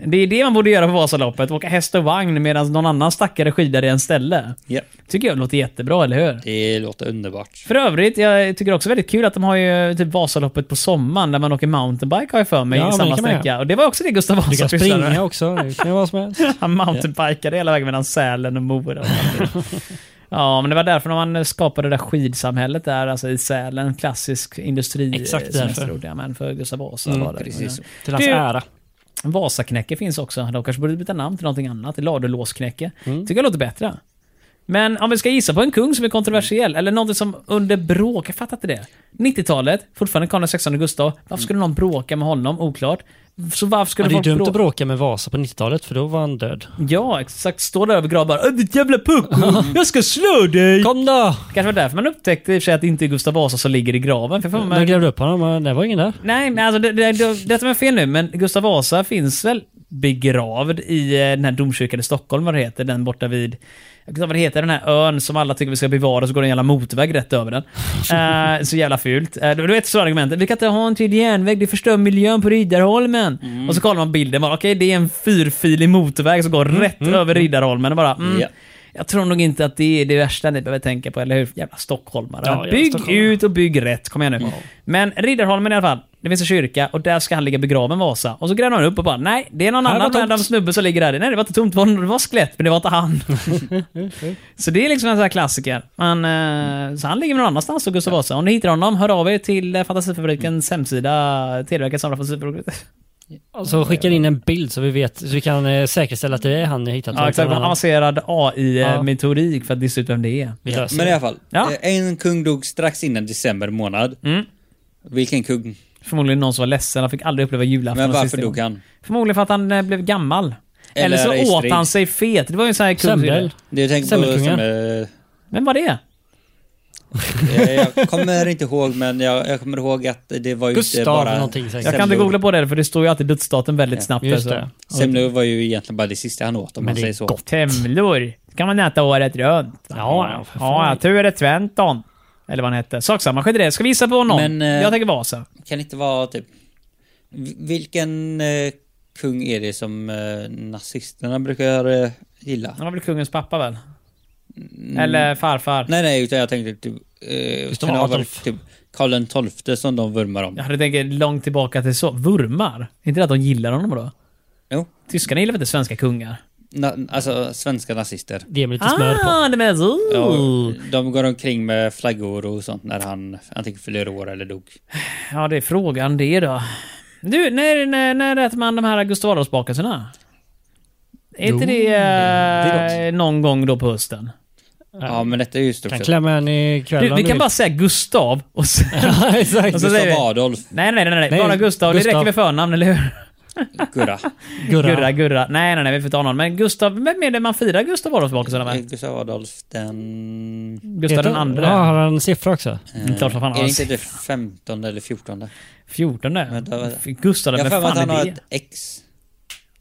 Speaker 3: det är det man borde göra på Vasaloppet. Åka häst och vagn medan någon annan stackare skidar i en ställe.
Speaker 1: ja.
Speaker 3: Tycker jag låter jättebra, eller hur?
Speaker 1: Det låter underbart.
Speaker 3: För övrigt, jag tycker också väldigt kul att de har ju typ Vasaloppet på sommaren där man åker mountainbike har jag för mig
Speaker 4: Ja,
Speaker 3: i
Speaker 4: men det
Speaker 3: samma
Speaker 4: kan man göra.
Speaker 3: sträcka. Och det var också det Gustav Vasa
Speaker 4: Du kan
Speaker 3: pysslade med.
Speaker 4: springa också. Det kan ju vara som helst.
Speaker 3: Han mountainbikade hela vägen mellan Sälen och Mora. och allt det. Ja, men det var därför man skapade det där skidsamhället där, alltså i Sälen. Klassisk industri. eh,
Speaker 4: Exakt därför. Mm,
Speaker 3: Ja, men för Gustav Vasa var det.
Speaker 1: Precis så.
Speaker 4: Till hans
Speaker 3: Du-
Speaker 4: ära.
Speaker 3: Vasaknäcke finns också. De kanske borde byta namn till någonting annat. Ladulåsknäcke.
Speaker 4: Mm.
Speaker 3: Tycker jag låter bättre. Men om vi ska gissa på en kung som är kontroversiell, eller någonting som under bråk, jag fattar inte det. 90-talet, fortfarande Karl XVI Gustav. Varför skulle någon bråka med honom? Oklart. Så varför
Speaker 4: Ja,
Speaker 3: skulle
Speaker 4: det är
Speaker 3: folk
Speaker 4: dumt
Speaker 3: bråka?
Speaker 4: att bråka med Vasa på 90-talet för då var han död.
Speaker 3: Ja, exakt. Står där över gravar. "Äh, Ditt jävla pucko! Jag ska slå dig!
Speaker 4: Kom då!
Speaker 3: kanske var därför man upptäckte i och för sig att det inte är Gustav Vasa som ligger i graven. För fan,
Speaker 4: De
Speaker 3: man...
Speaker 4: grävde upp honom och det var ingen där.
Speaker 3: Nej, men alltså det, det, det, detta var fel nu, men Gustav Vasa finns väl begravd i eh, den här domkyrkan i Stockholm, vad det heter, den borta vid... Jag vet inte vad det heter, den här ön som alla tycker vi ska bevara, så går det en jävla motväg rätt över den. Eh, så jävla fult. Eh, du du vet så argumentet, vi kan inte ha en till järnväg, det förstör miljön på Riddarholmen. Och så kollar man bilden, bara, okej det är en fyrfilig motorväg som går rätt över Riddarholmen och bara, mm,
Speaker 1: Ja.
Speaker 3: jag tror nog inte att det är det värsta ni behöver tänka på, eller hur? Jävla stockholmare.
Speaker 4: Ja, jävla
Speaker 3: bygg
Speaker 4: stockholmare.
Speaker 3: ut och bygg rätt, kom igen nu. Men Riddarholmen i alla fall, det finns en kyrka och där ska han ligga begraven Vasa. Och så gräver han upp och bara, nej, det är någon
Speaker 4: Här var
Speaker 3: annan
Speaker 4: tomt."
Speaker 3: random snubbe som ligger där. Nej, det var inte tomt, det var, det var skelett, men det var inte han. så det är liksom en sån här klassiker. Men, eh, så han ligger någon annanstans, och Gustav Vasa. Om ni hittar honom, hör av er till eh, Fantasifabrikens
Speaker 4: Mm.
Speaker 3: hemsida, Televerket samlar fantasifabriken.
Speaker 4: Och så skickar in en bild så vi vet, så vi kan eh, säkerställa att det är han ni hittat.
Speaker 3: Ja, exakt. Avancerad
Speaker 4: Ja.
Speaker 3: AI-metodik för att lista ut vem det är.
Speaker 4: Vi löser
Speaker 1: Men i
Speaker 4: det.
Speaker 1: alla fall.
Speaker 3: Alltså. Ja.
Speaker 1: eh, En kung dog strax innan december månad.
Speaker 3: Mm.
Speaker 1: Vilken kung?
Speaker 3: Förmodligen någon som var ledsen, han fick aldrig uppleva julafton.
Speaker 1: Men
Speaker 3: och
Speaker 1: varför
Speaker 3: sista
Speaker 1: dog
Speaker 3: gången.
Speaker 1: han?
Speaker 3: Förmodligen för att han eh, blev gammal.
Speaker 1: Eller
Speaker 3: Eller,
Speaker 1: är det i
Speaker 3: så åt
Speaker 1: strid?
Speaker 3: han sig fet. Det var ju en sån här kul...
Speaker 4: Semdel.
Speaker 1: Du tänker på...
Speaker 4: Semmelkungen.
Speaker 1: Som, eh,
Speaker 3: Vem var det?
Speaker 1: Eh, Jag kommer inte ihåg, men jag, jag kommer ihåg att det var ju
Speaker 4: Gustav
Speaker 1: inte bara...
Speaker 4: någonting säkert.
Speaker 3: Jag kan inte
Speaker 1: semlor.
Speaker 3: googla på det, för det står ju alltid dödsdatum väldigt snabbt.
Speaker 4: Just
Speaker 3: där,
Speaker 4: det.
Speaker 3: så.
Speaker 1: Semlor var ju egentligen bara det sista han åt, om
Speaker 4: Men
Speaker 1: man
Speaker 4: det är
Speaker 1: säger så.
Speaker 4: gott.
Speaker 3: Temlor. kan man äta året runt.
Speaker 4: Ja, ja, för fan.
Speaker 3: ja, ja tur är det Tventon. Eller vad han hette. Sak samma, skit i det. Ska vi gissa på någon?
Speaker 1: Men, eh,
Speaker 3: Jag tänker Vasa.
Speaker 1: Kan det inte vara typ... v- Vilken eh, kung är det som eh, nazisterna brukar eh, gilla?
Speaker 3: Han var väl kungens pappa väl? Eller farfar?
Speaker 1: Mm. Nej, nej, utan jag tänkte typ... Eh,
Speaker 4: Gustav
Speaker 1: kan det ha varit
Speaker 4: Adolf.
Speaker 1: Typ Karl XII som de vurmar om.
Speaker 3: Jag hade tänkt långt tillbaka till så. Vurmar? Är inte det att de gillar honom då?
Speaker 1: Jo.
Speaker 3: Tyskarna gillar väl inte svenska kungar?
Speaker 1: Na, alltså, svenska nazister.
Speaker 4: Ge mig lite smör på.
Speaker 3: Ah, det med så.
Speaker 1: Ja, de går omkring med flaggor och sånt när han antingen fyller år eller dog.
Speaker 3: Ja, det är frågan det då. Du, när, när, när äter man de här Gustav Adolfsbakelserna? Är inte
Speaker 4: Jo,
Speaker 3: det, eh,
Speaker 4: är
Speaker 3: någon gång då på hösten?
Speaker 1: Ja, men detta är ju
Speaker 4: Kan
Speaker 1: stort.
Speaker 4: klämma en i kvällen
Speaker 3: Du,
Speaker 4: om
Speaker 3: vi
Speaker 4: du
Speaker 3: kan
Speaker 4: vill.
Speaker 3: bara säga Gustav och sen...
Speaker 4: Ja, exakt.
Speaker 3: Och så säger vi-
Speaker 1: Gustav Adolf,
Speaker 3: Nej, nej, nej, nej,
Speaker 4: Nej,
Speaker 3: Bara Gustav. Det
Speaker 4: Gustav.
Speaker 3: räcker med förnamn, eller hur?
Speaker 1: Gurra.
Speaker 4: Gurra.
Speaker 3: Gurra, Gurra. Nej, nej, nej. Vi får ta någon. Men Gustav, vem är det man firar Gustav Adolfsbakelserna
Speaker 1: Eh,
Speaker 3: med?
Speaker 1: Gustav Adolf den...
Speaker 3: Gustav den andra.
Speaker 4: Ja, har han en siffra också?
Speaker 1: eh,
Speaker 3: Klart som fan
Speaker 1: är det
Speaker 3: han-
Speaker 1: inte det 15 eller 14?
Speaker 3: 14.
Speaker 1: Vänta, vänta.
Speaker 3: Gustav,
Speaker 1: Jag har
Speaker 3: vem
Speaker 1: för mig att han
Speaker 3: fan är
Speaker 1: har
Speaker 3: det?
Speaker 1: ett X.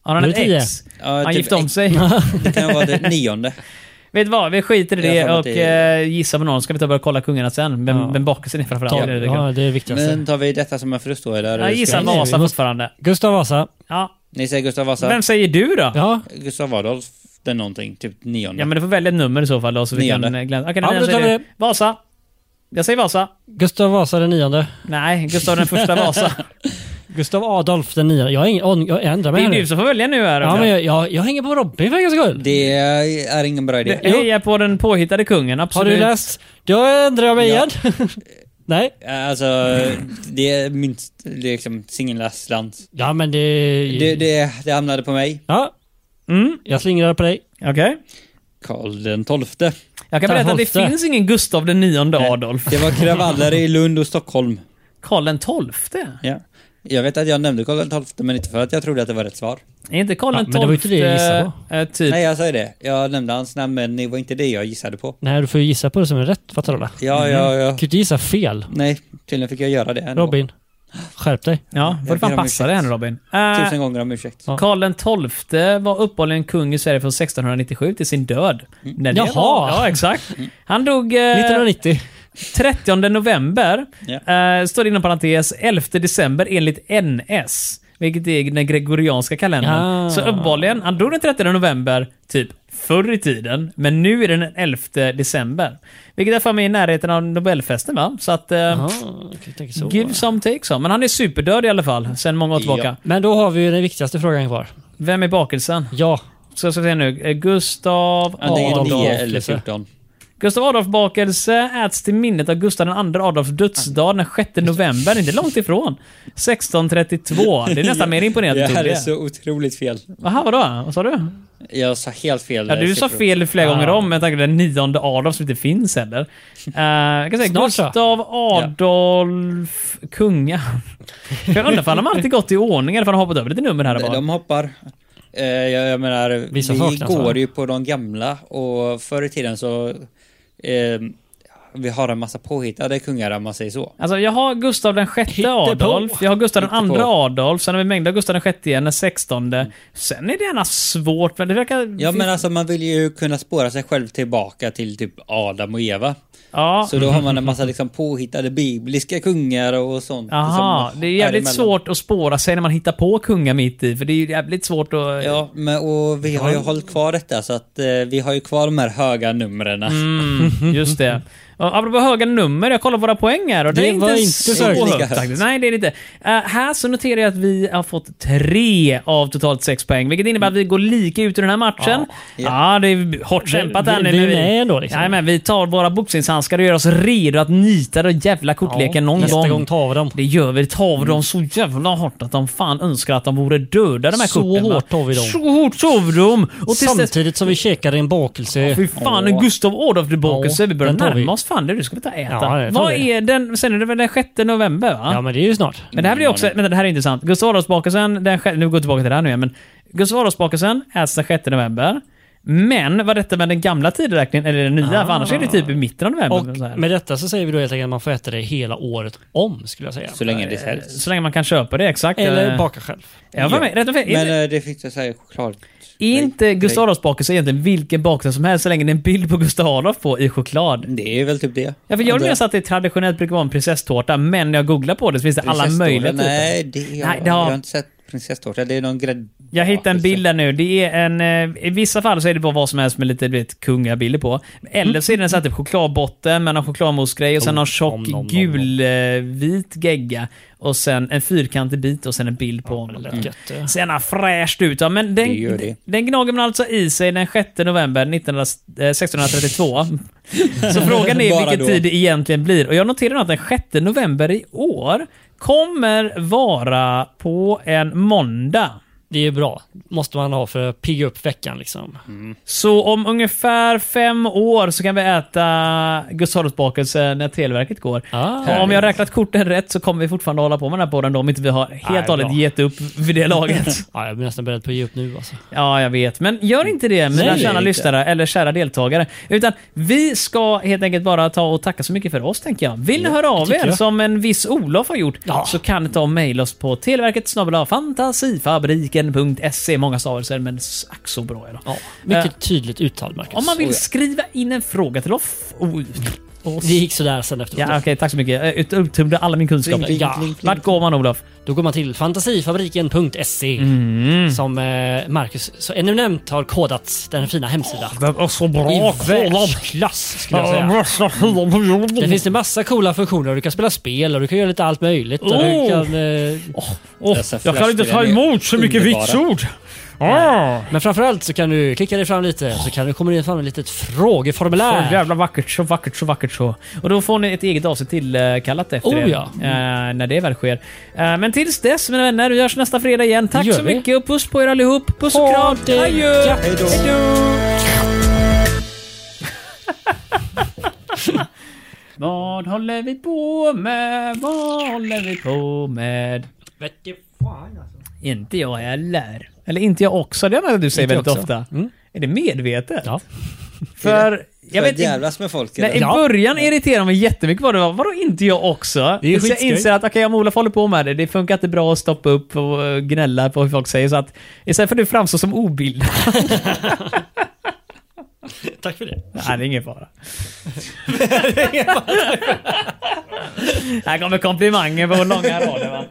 Speaker 3: Har han
Speaker 4: Nu är
Speaker 3: ett
Speaker 4: det tio.
Speaker 3: ex?
Speaker 1: Ja,
Speaker 3: Han
Speaker 1: typ
Speaker 3: gifte om
Speaker 1: X.
Speaker 3: sig.
Speaker 1: Det kan vara det nionde.
Speaker 3: Vet du vad? Vi skiter i
Speaker 1: Jag har för
Speaker 3: det
Speaker 1: mig
Speaker 3: och
Speaker 1: att det-
Speaker 3: eh, gissar på någon. Ska vi ta och börja kolla kungarna sen? Vem,
Speaker 4: Ja.
Speaker 3: vem bakelsen är framförallt.
Speaker 4: Ta,
Speaker 3: Det är det
Speaker 4: ja, det är det viktigaste.
Speaker 1: Men tar vi detta som en förlust då eller?
Speaker 3: Jag gissar
Speaker 1: Ska-
Speaker 4: Nej,
Speaker 3: Vasa
Speaker 4: vi måste-
Speaker 3: fortfarande.
Speaker 4: Gustav Vasa.
Speaker 3: Ja.
Speaker 1: Ni säger Gustav Vasa?
Speaker 3: Vem säger du då? Ja.
Speaker 4: Ja,
Speaker 1: Gustav Adolf den någonting, typ nionde.
Speaker 3: men du får välja ett nummer i så fall då, så vi kan
Speaker 1: Nionde.
Speaker 3: eh, glänsa. Okej,
Speaker 4: Ja,
Speaker 3: den
Speaker 4: men då
Speaker 3: säger
Speaker 4: tar vi
Speaker 3: du. Vasa. Jag säger Vasa.
Speaker 4: Gustav Vasa den nionde.
Speaker 3: Nej, Gustav den första Vasa.
Speaker 4: Gustav Adolf den nionde. Jag, har ingen, aning- jag ändrar mig
Speaker 3: Det är
Speaker 4: här nu.
Speaker 3: du som får välja nu här.
Speaker 4: Ja, men jag, jag, jag hänger på Robin för en gångs skull.
Speaker 1: Det är ingen bra idé.
Speaker 3: Heja på den påhittade kungen,
Speaker 4: Har
Speaker 3: absolut.
Speaker 4: du läst? Då ändrar jag mig
Speaker 1: Ja.
Speaker 4: igen. Nej?
Speaker 1: Alltså, det är minst, det är liksom singelslant.
Speaker 4: Ja, men det...
Speaker 1: Det, det, det hamnade på mig.
Speaker 4: Ja,
Speaker 3: Mm,
Speaker 4: jag slingrar på dig.
Speaker 3: okej.
Speaker 1: Karl den tolfte.
Speaker 3: Jag kan berätta att det
Speaker 4: Tolfte.
Speaker 3: finns ingen Gustav den nionde Adolf.
Speaker 1: Det var kravaller i Lund och Stockholm.
Speaker 3: Karl den tolfte?
Speaker 1: Ja. Jag vet att jag nämnde Karl den tolfte, men inte för att jag trodde att det var rätt svar.
Speaker 3: Är inte Karl
Speaker 4: Ja,
Speaker 3: den
Speaker 4: men det var ju inte det jag
Speaker 3: tolfte
Speaker 4: gissade
Speaker 3: eh, typ...
Speaker 1: Nej, jag säger det. Jag nämnde hans namn, men det var inte det jag gissade på.
Speaker 4: Nej, du får ju gissa på det som är rätt. Fattar du? eller? Du
Speaker 3: Mm.
Speaker 1: Ja, ja, ja.
Speaker 4: kan ju inte gissa fel.
Speaker 1: Nej, tydligen fick jag göra det ändå.
Speaker 4: Robin, skärp dig.
Speaker 3: Ja, vad
Speaker 1: Jag ber
Speaker 3: fan
Speaker 1: om
Speaker 3: passar det
Speaker 1: ursäkt.
Speaker 3: henne Robin? Eh,
Speaker 1: Tusen gånger om ursäkt.
Speaker 3: Karl den tolfte var uppehållligen kung i Sverige från 1697 till sin död. När det
Speaker 4: Mm. Jaha. Mm.
Speaker 3: Var, ja, exakt. Han dog... eh,
Speaker 4: 1990.
Speaker 3: 30 november,
Speaker 1: Ja.
Speaker 3: eh, står det inom parentes, 11 december enligt NS. Vilket är den gregorianska kalendern.
Speaker 4: Ah.
Speaker 3: Så uppenbarligen, han dog den 30 november, typ förr i tiden, men nu är det den 11 december. Vilket är för mig i närheten av Nobelfesten va? Så att... Eh,
Speaker 4: Ja, jag kan tänka så.
Speaker 3: give some take some. Men han är superdöd i alla fall, sen många år tillbaka.
Speaker 4: Men då har vi ju den viktigaste frågan kvar.
Speaker 3: Vem är bakelsen?
Speaker 4: Ja.
Speaker 3: Så ska vi se nu. Eh, Gustav
Speaker 1: Antingen
Speaker 4: Adolf,
Speaker 1: 9 eller
Speaker 4: alltså.
Speaker 1: 14.
Speaker 3: Gustav Adolf-bakelse äts till minnet av Gustav II Adolfs dödsdag den 6 november, inte långt ifrån. 1632. Det är nästan mer
Speaker 1: Det
Speaker 3: imponerande.
Speaker 1: här
Speaker 3: Tobbe.
Speaker 1: är så otroligt fel.
Speaker 3: Aha, vadå? Vad sa du?
Speaker 1: Jag sa helt fel.
Speaker 3: Ja, du sa
Speaker 1: siffror.
Speaker 3: fel flera
Speaker 4: Ah.
Speaker 3: gånger om med tanke på den nionde Adolf som inte finns heller. Eh, jag kan säga
Speaker 4: Snart så.
Speaker 3: Gustav Adolf Kunga. Jag undrar för de har alltid gått i ordning eller för de har hoppat över lite nummer här och
Speaker 1: De,
Speaker 3: var.
Speaker 1: de hoppar. Eh, jag, jag menar,
Speaker 4: Vissa
Speaker 1: vi
Speaker 4: saknas,
Speaker 1: går
Speaker 4: va?
Speaker 1: ju på de gamla och förr i tiden så... Eh, vi har en massa påhittade kungar om man säger så.
Speaker 3: Alltså jag har Gustav den sjätte
Speaker 4: Hittepå.
Speaker 3: Adolf, jag har Gustav den
Speaker 1: Hittepå.
Speaker 3: andra Adolf, sen har vi mängder av Gustav den sjätte igen, den sextonde. Sen är det gärna svårt, men det verkar...
Speaker 1: Ja men alltså man vill ju kunna spåra sig själv tillbaka till typ Adam och Eva.
Speaker 3: Ja.
Speaker 1: Så då har man en massa liksom påhittade bibliska kungar och sånt.
Speaker 3: Aha,
Speaker 1: som
Speaker 3: det är jävligt
Speaker 1: däremellan.
Speaker 3: svårt att spåra sig när man hittar på kungar mitt i, för det är ju jävligt svårt att...
Speaker 1: Ja, men, och vi har ju hållit kvar detta så att eh, vi har ju kvar de här höga numren.
Speaker 3: Mm, just det. Och Apropå höga nummer, jag kollar våra poäng här och det,
Speaker 4: Det
Speaker 3: är inte
Speaker 4: var inte
Speaker 3: så
Speaker 4: så
Speaker 1: högt.
Speaker 3: högt. faktiskt. Nej, det är det inte. Eh, här så noterar jag att vi har fått tre av totalt sex poäng, vilket innebär att vi går lika ut i den här matchen. Ja, det är hårt kämpat
Speaker 4: vi-
Speaker 3: här nu.
Speaker 4: vi
Speaker 3: men
Speaker 4: är med ändå, liksom.
Speaker 3: Nej, men vi tar våra boxningshandskar och gör oss redo att nita den jävla kortleken någon
Speaker 4: nästa
Speaker 3: gång.
Speaker 4: gång tar vi dem.
Speaker 3: Det gör vi. Tar vi dem så jävla hårt att de fan önskar att de vore döda de här
Speaker 4: Så
Speaker 3: korten. va?
Speaker 4: hårt tar vi dem.
Speaker 3: Så hårt tar vi dem. Och tills dess
Speaker 4: Samtidigt som vi käkar en bakelse.
Speaker 3: Fy fan, en
Speaker 1: Åh.
Speaker 3: Gustav Adolf tillbaka
Speaker 4: Ja,
Speaker 3: vi börjar
Speaker 4: den tar vi.
Speaker 3: närma oss fan det. Du ska vi ta och äta.
Speaker 4: Ja, det tar
Speaker 3: Vad
Speaker 4: vi.
Speaker 3: är den? Sen är det väl den 6 november va?
Speaker 4: Ja, men Mm. det är ju snart.
Speaker 3: men det här blir också, vänta det här är intressant. Gustav Adolfsbakelsen, den sjätte- nu går jag tillbaka till det här nu igen, men Gustav Adolfsbakelsen äts den 6 november. Men var detta med den gamla tideräkningen, eller den nya? För annars är det typ i mitten av november.
Speaker 4: Ah. Och
Speaker 3: så, här.
Speaker 4: med detta så säger vi då helt enkelt att man får äta det hela året om, skulle jag säga.
Speaker 1: Så länge det säljs.
Speaker 3: Eh, så länge man kan köpa det, exakt.
Speaker 4: Eller
Speaker 3: Eh,
Speaker 4: baka själv.
Speaker 3: Ja, för mig, rätt och fel.
Speaker 1: Men eh, det fick jag säga choklad.
Speaker 3: är inte
Speaker 1: Nej.
Speaker 3: Gustav Adolfs bakelse egentligen vilken bakelse som helst så länge det är en bild på Gustav Adolf på i choklad?
Speaker 1: Det är väl typ det.
Speaker 3: Ja, för jag minns att det traditionellt brukar vara en prinsesstårta, men när jag googlar på det så finns det alla
Speaker 1: Prinsesstårta?
Speaker 3: möjliga typer.
Speaker 1: Nej, det är,
Speaker 3: Nej, det
Speaker 1: jag
Speaker 3: har-
Speaker 1: har inte sett prinsesstårta. Det är någon grädd...
Speaker 3: Jag hittade en bild där nu. Det är en, eh, I vissa fall så är det bara vad som helst med lite du vet, kungabilder på. Eller så är det en sån här typ chokladbotten med någon chokladmoussegrej och sen någon tjock
Speaker 4: nom, nom, nom,
Speaker 3: gulvit gegga. Och sen en fyrkantig bit och sen en bild på honom.
Speaker 4: Eller gött. eh.
Speaker 3: Ser gärna fräscht ut. Ja, men
Speaker 1: Det
Speaker 3: den,
Speaker 1: gör det.
Speaker 3: den gnager man alltså i sig den 6 november 1900, eh, 1632. Så frågan är
Speaker 1: Bara
Speaker 3: vilken
Speaker 1: då.
Speaker 3: tid det egentligen blir. Och jag noterar att den 6 november i år kommer vara på en måndag.
Speaker 4: Det är bra. Måste man ha för att pigga upp veckan liksom.
Speaker 3: Så om ungefär fem år så kan vi äta Gustav Adolfsbakelse när Televerket går.
Speaker 4: Ah.
Speaker 3: Och om jag har räknat korten rätt så kommer vi fortfarande hålla på med den här podden då, om inte vi har helt
Speaker 4: Nej,
Speaker 3: och hållet
Speaker 4: bra.
Speaker 3: gett upp vid det laget.
Speaker 4: Ja, jag blir nästan beredd på att ge upp nu alltså.
Speaker 3: Ja, jag vet. Men gör inte det, mina
Speaker 1: Nej,
Speaker 3: kära
Speaker 1: inte.
Speaker 3: lyssnare eller kära deltagare. Utan vi ska helt enkelt bara ta och tacka så mycket för oss, tänker jag. Vill ni höra av
Speaker 4: tycker
Speaker 3: er,
Speaker 4: jag.
Speaker 3: som en viss Olof har gjort,
Speaker 4: Ja.
Speaker 3: så kan ni ta och mejla oss på televerket snabel-a fantasifabriken.se. Många stavelser, men ack så bra är det.
Speaker 4: Mycket
Speaker 3: Eh,
Speaker 4: tydligt uttal, Marcus.
Speaker 3: om man
Speaker 1: Oh,
Speaker 3: vill
Speaker 1: ja. Mm.
Speaker 3: skriva in en fråga till oss... Oj.
Speaker 4: Det gick sådär sen efteråt.
Speaker 3: Ja, okej, tack så mycket. Jag uttömde alla min kunskap.
Speaker 1: Pling, pling,
Speaker 4: Ja.
Speaker 1: pling, pling.
Speaker 3: Vart går man, Olof?
Speaker 4: Då går man till fantasifabriken.se som eh, Marcus så eminent har kodat den fina hemsidan.
Speaker 5: Den är så bra
Speaker 4: I världsklass skulle jag säga. Det finns en massa coola funktioner. Du kan spela spel och du kan göra lite allt möjligt. Och du
Speaker 5: Oh.
Speaker 4: kan, eh,
Speaker 5: Åh,
Speaker 1: Dessa
Speaker 5: jag kan inte ta
Speaker 1: flaskor är
Speaker 5: emot så mycket
Speaker 1: underbara.
Speaker 5: vitsord. Ah,
Speaker 4: men framförallt så kan du klicka dig fram lite så kan du komma in fram ett litet
Speaker 3: Så
Speaker 4: frågeformulär.
Speaker 3: jävla vackert, så vackert, så vackert så. Och då får ni ett eget avsnitt till eh, kallat efter
Speaker 4: Oh,
Speaker 3: det.
Speaker 4: ja.
Speaker 3: eh, när det väl sker. Eh, men tills dess mina vänner, vi hörs nästa fredag igen. Tack
Speaker 4: gör
Speaker 3: så
Speaker 4: vi.
Speaker 3: mycket och puss på er allihop. Puss och
Speaker 4: Ha
Speaker 3: kram.
Speaker 4: det
Speaker 3: Adjö!
Speaker 4: gött.
Speaker 3: Hejdå! Vad håller vi på med? Vad håller vi på med? Inte jag heller. Eller inte jag också. Det är något du säger
Speaker 4: Inte jag
Speaker 3: väldigt
Speaker 4: också. Mm.
Speaker 3: ofta. Är det medvetet?
Speaker 4: Ja.
Speaker 3: För jag
Speaker 1: Jag
Speaker 3: vet inte.
Speaker 1: jävlas med folk.
Speaker 3: Nej, I
Speaker 1: eller?
Speaker 3: början irriterade mig jättemycket vad det var. Vadå inte jag också?
Speaker 4: Det är ju
Speaker 3: Tills jag
Speaker 4: skitskoj.
Speaker 3: inser att okej, om Olof håller på med det, det funkar inte bra att stoppa upp och eh, gnälla på hur folk säger. Så att istället för att du framstår som obildad.
Speaker 4: Tack för det.
Speaker 3: Nej, det är ingen fara. Här kommer komplimangen på vår långa rader va.